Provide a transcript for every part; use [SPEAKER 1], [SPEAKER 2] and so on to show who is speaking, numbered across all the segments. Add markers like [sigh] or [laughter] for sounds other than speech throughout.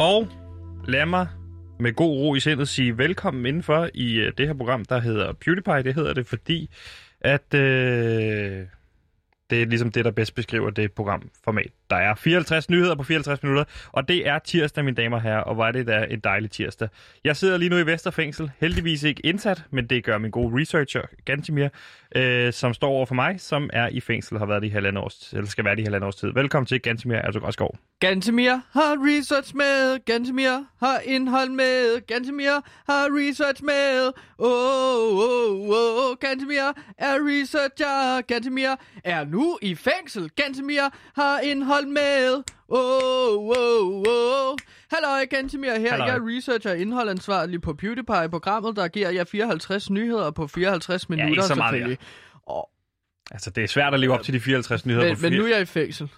[SPEAKER 1] Og lad mig med god ro i sindet sige velkommen indenfor i øh, det her program, der hedder PewDiePie. Det hedder det, fordi at øh, det er ligesom det, der bedst beskriver det programformat. Der er 54 nyheder på 54 minutter, og det er tirsdag, mine damer og herrer, og hvor er det da en dejlig tirsdag. Jeg sidder lige nu i Vesterfængsel, heldigvis ikke indsat, men det gør min gode researcher, Gantimir, øh, som står over for mig, som er i fængsel og har været i halvandet års, eller skal være det i halvandet års tid. Velkommen til Gantimir Ertug
[SPEAKER 2] Gantemir har research med, Gantemir har indhold med, Gantemir har research med. Oh, oh, oh, Gantemir er researcher, Gantemir er nu i fængsel, Gantemir har indhold med. Oh, oh, oh. Halløj, Gantemir her.
[SPEAKER 1] Halløj.
[SPEAKER 2] Jeg er researcher og indholdansvarlig på PewDiePie, programmet, der giver jer 54 nyheder på 54 minutter,
[SPEAKER 1] ikke så meget
[SPEAKER 2] selvfølgelig.
[SPEAKER 1] Altså, det er svært at leve op til de 54 nyheder
[SPEAKER 2] Men,
[SPEAKER 1] på
[SPEAKER 2] men
[SPEAKER 1] fire-
[SPEAKER 2] nu er jeg i fængsel.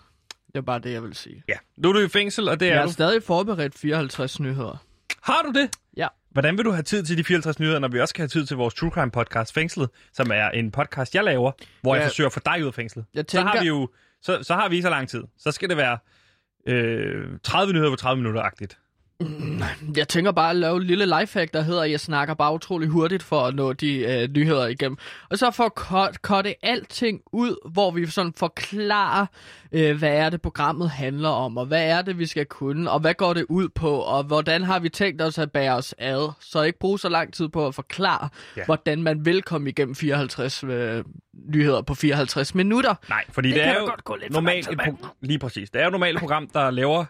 [SPEAKER 2] Det er bare det, jeg vil sige.
[SPEAKER 1] Ja, nu er du i fængsel, og det
[SPEAKER 2] Jeg
[SPEAKER 1] er
[SPEAKER 2] har
[SPEAKER 1] du.
[SPEAKER 2] stadig forberedt 54 nyheder.
[SPEAKER 1] Har du det?
[SPEAKER 2] Ja.
[SPEAKER 1] Hvordan vil du have tid til de 54 nyheder, når vi også skal have tid til vores True Crime podcast Fængslet, som er en podcast, jeg laver, hvor ja.
[SPEAKER 2] Ja.
[SPEAKER 1] jeg forsøger at få dig ud af fængslet.
[SPEAKER 2] Jeg
[SPEAKER 1] Så har
[SPEAKER 2] tænker-
[SPEAKER 1] vi jo så, så har vi ikke så lang tid. Så skal det være øh, 30 nyheder på 30 minutter-agtigt.
[SPEAKER 2] Jeg tænker bare at lave et lille lifehack, der hedder, at jeg snakker bare utrolig hurtigt for at nå de øh, nyheder igennem. Og så for at cut- cutte alting ud, hvor vi sådan forklarer, øh, hvad er det programmet handler om, og hvad er det, vi skal kunne, og hvad går det ud på, og hvordan har vi tænkt os at bære os ad. Så ikke bruge så lang tid på at forklare,
[SPEAKER 1] Ja.
[SPEAKER 2] ja. hvordan man vil komme igennem 54 øh, nyheder på 54 minutter.
[SPEAKER 1] Nej, fordi det,
[SPEAKER 2] Det
[SPEAKER 1] det
[SPEAKER 2] kan
[SPEAKER 1] er
[SPEAKER 2] da
[SPEAKER 1] jo
[SPEAKER 2] godt gå lidt for
[SPEAKER 1] normalt et
[SPEAKER 2] langsomt,
[SPEAKER 1] pro- lige præcis. Det er jo et normalt program, der laver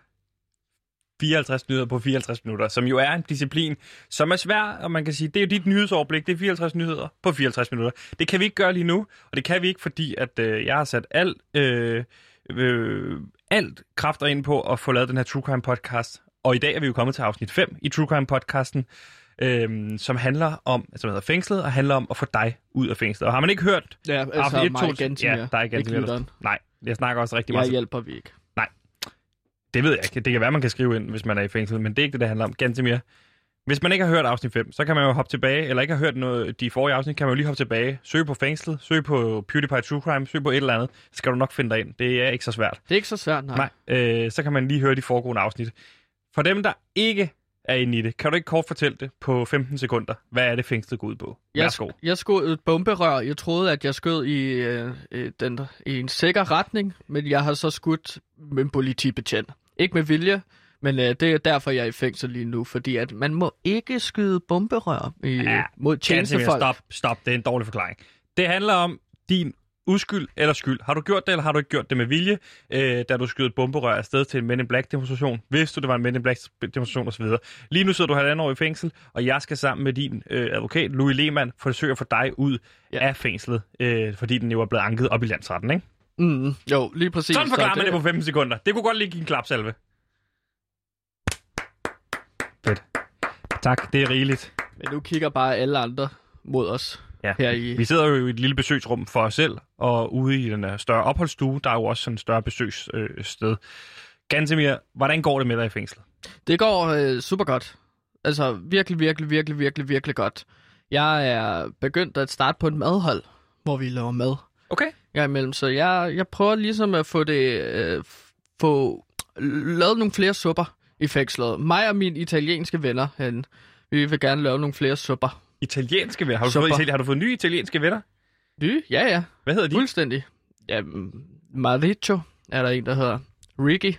[SPEAKER 1] 54 nyheder på 54 minutter, som jo er en disciplin, som er svær, og man kan sige, det er jo dit nyhedsoverblik, det er 54 nyheder på 54 minutter. Det kan vi ikke gøre lige nu, og det kan vi ikke, fordi at øh, jeg har sat alt, øh, øh, alt kræfter ind på at få lavet den her True Crime podcast, og i dag er vi jo kommet til afsnit 5 i True Crime podcasten, øh, som handler om, som hedder Fængslet, og handler om at få dig ud af fængslet. Og har man ikke hørt
[SPEAKER 2] Ja, altså
[SPEAKER 1] Afsnit Ah, et,
[SPEAKER 2] mig
[SPEAKER 1] to,
[SPEAKER 2] igen til
[SPEAKER 1] ja, der er igen til mere.
[SPEAKER 2] lytteren.
[SPEAKER 1] Nej, jeg snakker også rigtig
[SPEAKER 2] Jeg
[SPEAKER 1] meget. Ja,
[SPEAKER 2] hjælper vi ikke.
[SPEAKER 1] Det ved jeg ikke. Det kan være, man kan skrive ind, hvis man er i fængsel, men det er ikke det, det handler om. Ganske mere. Hvis man ikke har hørt afsnit 5, så kan man jo hoppe tilbage, eller ikke har hørt noget, de forrige afsnit, kan man jo lige hoppe tilbage. Søg på fængslet, søg på PewDiePie True Crime, søg på et eller andet. Så skal du nok finde dig ind. Det er ikke så svært.
[SPEAKER 2] Det er ikke så svært, nej.
[SPEAKER 1] Nej. Øh, så kan man lige høre de foregående afsnit. For dem, der ikke er inde i det, kan du ikke kort fortælle det på 15 sekunder. Hvad er det, fængslet går ud på?
[SPEAKER 2] Jeg,
[SPEAKER 1] Værsgo.
[SPEAKER 2] jeg skød et bomberør. Jeg troede, at jeg skød i, øh, øh, den, i en sikker retning, men jeg har så skudt med en politibetjent. Ikke med vilje, men øh, det er derfor, jeg er i fængsel lige nu, fordi at man må ikke skyde bomberør i,
[SPEAKER 1] Ja,
[SPEAKER 2] ja, mod
[SPEAKER 1] Ganske mere.
[SPEAKER 2] tjenestefolk.
[SPEAKER 1] Stop, stop. Det er en dårlig forklaring. Det handler om din uskyld eller skyld. Har du gjort det, eller har du ikke gjort det med vilje, øh, da du skød et bomberør afsted til en Men in Black-demonstration? Vidste du, det var en Men in Black-demonstration osv.? Lige nu sidder du halvandet år i fængsel, og jeg skal sammen med din øh, advokat, Louis Lehmann, forsøge at få dig ud
[SPEAKER 2] Ja.
[SPEAKER 1] af fængslet, øh, fordi den jo er blevet anket op i landsretten, ikke?
[SPEAKER 2] Mm, jo, lige præcis.
[SPEAKER 1] Sådan
[SPEAKER 2] Så
[SPEAKER 1] forklarer man det på 15 sekunder. Det kunne godt lige give en klapsalve. Fedt. Tak, det er rigeligt.
[SPEAKER 2] Men nu kigger bare alle andre mod os
[SPEAKER 1] Ja.
[SPEAKER 2] ja. her i...
[SPEAKER 1] Vi sidder jo i et lille besøgsrum for os selv, og ude i den her større opholdsstue, der er jo også sådan et større besøgssted. Øh, sted. Gantemir, hvordan går det med dig i fængslet?
[SPEAKER 2] Det går øh, super godt. Altså virkelig, virkelig, virkelig, virkelig, virkelig godt. Jeg er begyndt at starte på et madhold, hvor vi laver mad.
[SPEAKER 1] Okay.
[SPEAKER 2] gang imellem. Så jeg, jeg prøver ligesom at få det, øh, f- få lavet nogle flere supper i fængslet. Mig og mine italienske venner, han, vi vil gerne lave nogle flere supper.
[SPEAKER 1] Italienske venner. Har du,
[SPEAKER 2] Super.
[SPEAKER 1] fået, itali- har du fået nye italienske venner?
[SPEAKER 2] Ny? Ja, ja.
[SPEAKER 1] Hvad hedder de?
[SPEAKER 2] Fuldstændig. Ja, Maricho er der en, der hedder. Ricky.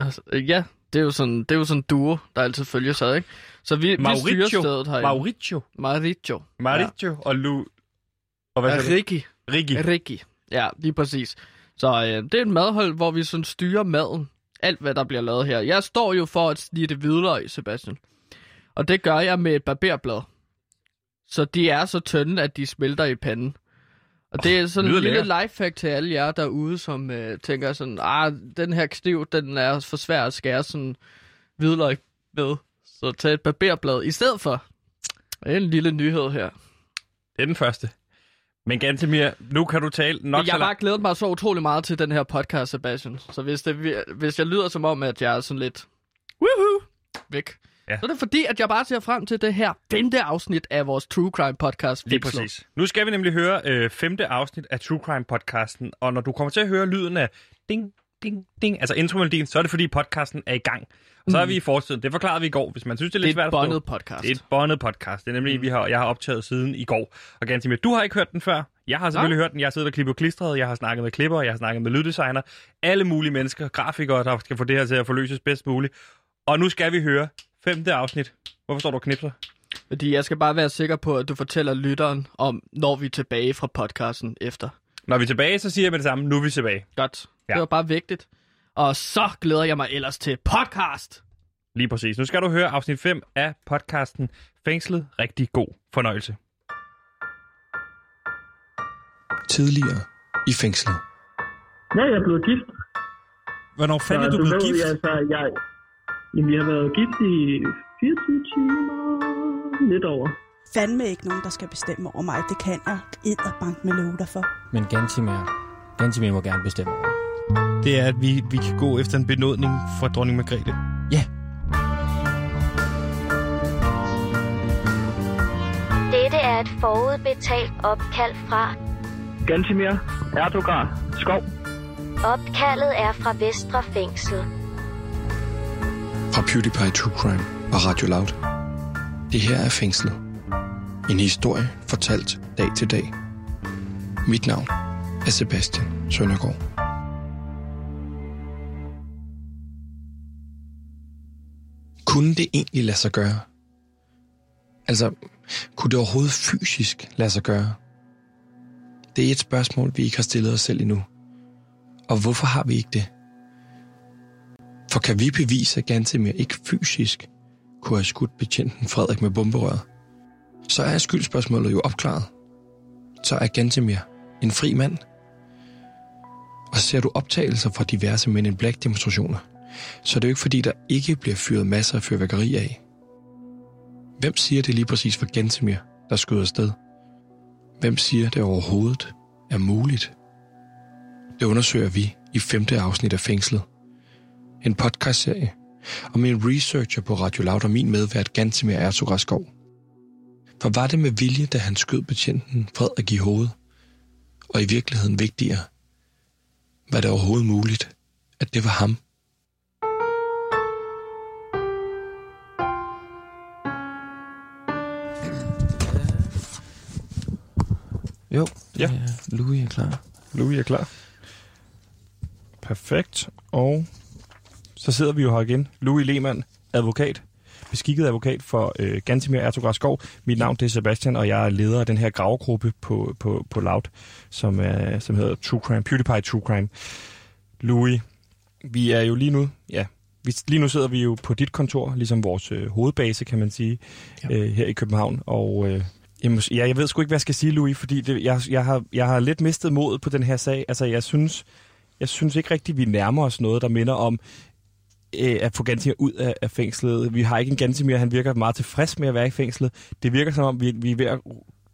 [SPEAKER 2] Altså, øh, ja, det er jo sådan, det er jo sådan en duo, der altid følger sig, ikke? Så vi, vi styrer
[SPEAKER 1] Mauricio.
[SPEAKER 2] stedet her.
[SPEAKER 1] Mauricio.
[SPEAKER 2] Maricho.
[SPEAKER 1] Mauricio ja. og Lu... Og hvad hedder det?
[SPEAKER 2] Ricky.
[SPEAKER 1] Rigi.
[SPEAKER 2] Ricky. Ja, lige præcis. Så øh, det er et madhold, hvor vi sådan styrer maden. Alt, hvad der bliver lavet her. Jeg står jo for at snitte hvidløg, Sebastian. Og det gør jeg med et barberblad. Så de er så tynde, at de smelter i panden. Og det er sådan
[SPEAKER 1] lyder
[SPEAKER 2] en lille lifehack til alle jer derude, som øh, tænker sådan, ah, den her kniv, den er for svær at skære sådan hvidløg med. Så tag et barberblad i stedet for. Det er en lille nyhed her.
[SPEAKER 1] Det er den første. Men Gantemir, nu kan du tale nok
[SPEAKER 2] Men jeg
[SPEAKER 1] så
[SPEAKER 2] har
[SPEAKER 1] langt.
[SPEAKER 2] bare glædet mig så utrolig meget til den her podcast, Sebastian. Så hvis, det, vir- hvis jeg lyder som om, at jeg er sådan lidt woohoo, væk,
[SPEAKER 1] Ja.
[SPEAKER 2] ja. så er det fordi, at jeg bare ser frem til det her femte afsnit af vores True Crime podcast.
[SPEAKER 1] Lige
[SPEAKER 2] Fixet.
[SPEAKER 1] præcis. Nu skal vi nemlig høre øh, femte afsnit af True Crime podcasten, og når du kommer til at høre lyden af ding, ding, ding, altså intromelodien, så er det fordi podcasten er i gang. Og så er vi i fortiden. Det forklarede vi i går, hvis man synes, det er lidt
[SPEAKER 2] Mm. Det er et
[SPEAKER 1] svært at forstå.
[SPEAKER 2] bondet podcast.
[SPEAKER 1] Det er et bondet podcast. Det er nemlig, mm. vi har, jeg har optaget siden i går. Og Gansimir, du har ikke hørt den før. Jeg har selvfølgelig hørt den. Jeg har siddet og klippet og klistret. Jeg har snakket med klipper. Jeg har snakket med lyddesigner. Alle mulige mennesker, grafikere, der skal få det her til at forløses bedst muligt. Og nu skal vi høre femte afsnit. Hvorfor står du og knipser?
[SPEAKER 2] Fordi jeg skal bare være sikker på, at du fortæller lytteren om, når vi er tilbage fra podcasten efter.
[SPEAKER 1] Når vi er tilbage, så siger jeg med det samme. Nu er vi tilbage.
[SPEAKER 2] Godt.
[SPEAKER 1] Ja.
[SPEAKER 2] Ja. Det var bare vigtigt. Og så glæder jeg mig ellers til podcast.
[SPEAKER 1] Lige præcis. Nu skal du høre afsnit 5 af podcasten Fængslet. Rigtig god fornøjelse.
[SPEAKER 3] tidligere i fængslet.
[SPEAKER 4] Ja, jeg er blevet gift.
[SPEAKER 1] Hvornår fanden er
[SPEAKER 4] Så
[SPEAKER 1] du blevet
[SPEAKER 4] ved
[SPEAKER 1] gift?
[SPEAKER 4] Jeg, altså, jeg, jamen, jeg har været gift i 24 timer, lidt over.
[SPEAKER 5] fandme ikke nogen, der skal bestemme over mig. Det kan jeg edderbank med love dig for.
[SPEAKER 6] Men Gantimer, Gantimer må gerne bestemme.
[SPEAKER 1] Det er, at vi, vi kan gå efter en benådning fra dronning Margrethe.
[SPEAKER 7] Dette er et forudbetalt opkald fra.
[SPEAKER 4] Gantimir, Erdogan, Skov.
[SPEAKER 7] Opkaldet er fra Vestre Fængsel.
[SPEAKER 3] Fra PewDiePie True Crime og Radio Loud. Det her er fængslet. En historie fortalt dag til dag. Mit navn er Sebastian Søndergaard. Kunne det egentlig lade sig gøre? Altså, kunne det overhovedet fysisk lade sig gøre? Det er et spørgsmål, vi ikke har stillet os selv endnu. Og hvorfor har vi ikke det? For kan vi bevise, at Gantemir ikke fysisk kunne have skudt betjenten Frederik med bomberøret, så er skyldspørgsmålet jo opklaret. Så er Gantemir en fri mand. Og ser du optagelser fra diverse Men in Black demonstrationer, så er det jo ikke fordi, der ikke bliver fyret masser af fyrværkeri af. Hvem siger det lige præcis for Gantemir, der skyder afsted? Hvem siger det overhovedet er muligt? Det undersøger vi i femte afsnit af Fængslet en podcastserie om en researcher på Radio Loud og min medvært Gantemir Ertug Skov. For var det med vilje, da han skød betjenten Frederik i hovedet? Og i virkeligheden vigtigere, var det overhovedet muligt, at det var ham?
[SPEAKER 6] Jo,
[SPEAKER 1] Ja.
[SPEAKER 6] er- Louis er klar.
[SPEAKER 1] Louis er klar. Perfekt. Og så sidder vi jo her igen. Louis Lehmann, advokat. Beskikket advokat for øh, Gantimir Ertugras Skov. Mit navn det er Sebastian, og jeg er leder af den her gravegruppe på, på, på Loud, som, øh, som hedder True Crime, PewDiePie True Crime. Louis, vi er jo lige nu, ja, vi, lige nu sidder vi jo på dit kontor, ligesom vores øh, hovedbase, kan man sige, ja. øh, her i København, og... Øh, jeg, må, ja, jeg ved sgu ikke, hvad jeg skal sige, Louis, fordi det, jeg, jeg, har, jeg har lidt mistet modet på den her sag. Altså, jeg synes, jeg synes ikke rigtigt, vi nærmer os noget, der minder om øh, at få Gantimer ud af, af fængslet. Vi har ikke en Gantimer, han virker meget tilfreds med at være i fængslet. Det virker som om, vi, vi er ved at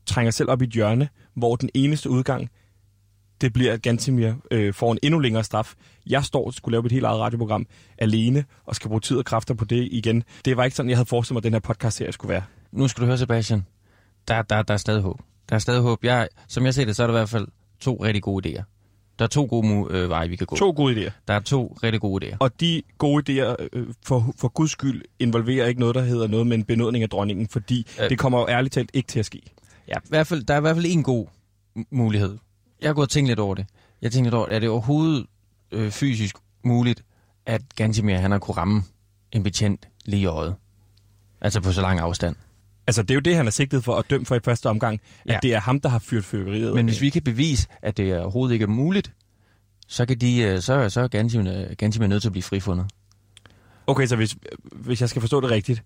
[SPEAKER 1] trænge os selv op i et hjørne, hvor den eneste udgang, det bliver, at Gantimer øh, får en endnu længere straf. Jeg står og skulle lave mit helt eget radioprogram alene, og skal bruge tid og kræfter på det igen. Det var ikke sådan, jeg havde forestillet mig, at den her podcast-serie skulle være.
[SPEAKER 6] Nu skal du høre, Sebastian. Der, der, der er stadig håb. Der er stadig håb. Jeg, som jeg ser det, så er der i hvert fald to rigtig gode idéer. Der er to gode mu- øh, veje, vi kan gå.
[SPEAKER 1] To gode idéer.
[SPEAKER 6] Der er to rigtig gode idéer.
[SPEAKER 1] Og de gode idéer, øh, for, for guds skyld, involverer ikke noget, der hedder noget med en benådning af dronningen, fordi øh.
[SPEAKER 6] Øh.
[SPEAKER 1] det kommer jo ærligt talt ikke til at ske.
[SPEAKER 6] Ja, i hvert fald, der er i hvert fald en god m- mulighed. Jeg har gået og tænkt lidt over det. Jeg tænkte lidt over, er det overhovedet øh, fysisk muligt, at Gantimer han har kunne ramme en betjent lige i øjet? Altså på så lang afstand.
[SPEAKER 1] Altså, det er jo det, han er sigtet for og dømt for i første omgang, at ja.
[SPEAKER 6] Ja.
[SPEAKER 1] det er ham, der har fyret fyrværkeriet.
[SPEAKER 6] Men hvis vi kan bevise, at det overhovedet ikke er muligt, så, kan de, øh, så, så er Gantimen, øh, Gantimen nødt til at blive frifundet.
[SPEAKER 1] Okay, så hvis, hvis jeg skal forstå det rigtigt,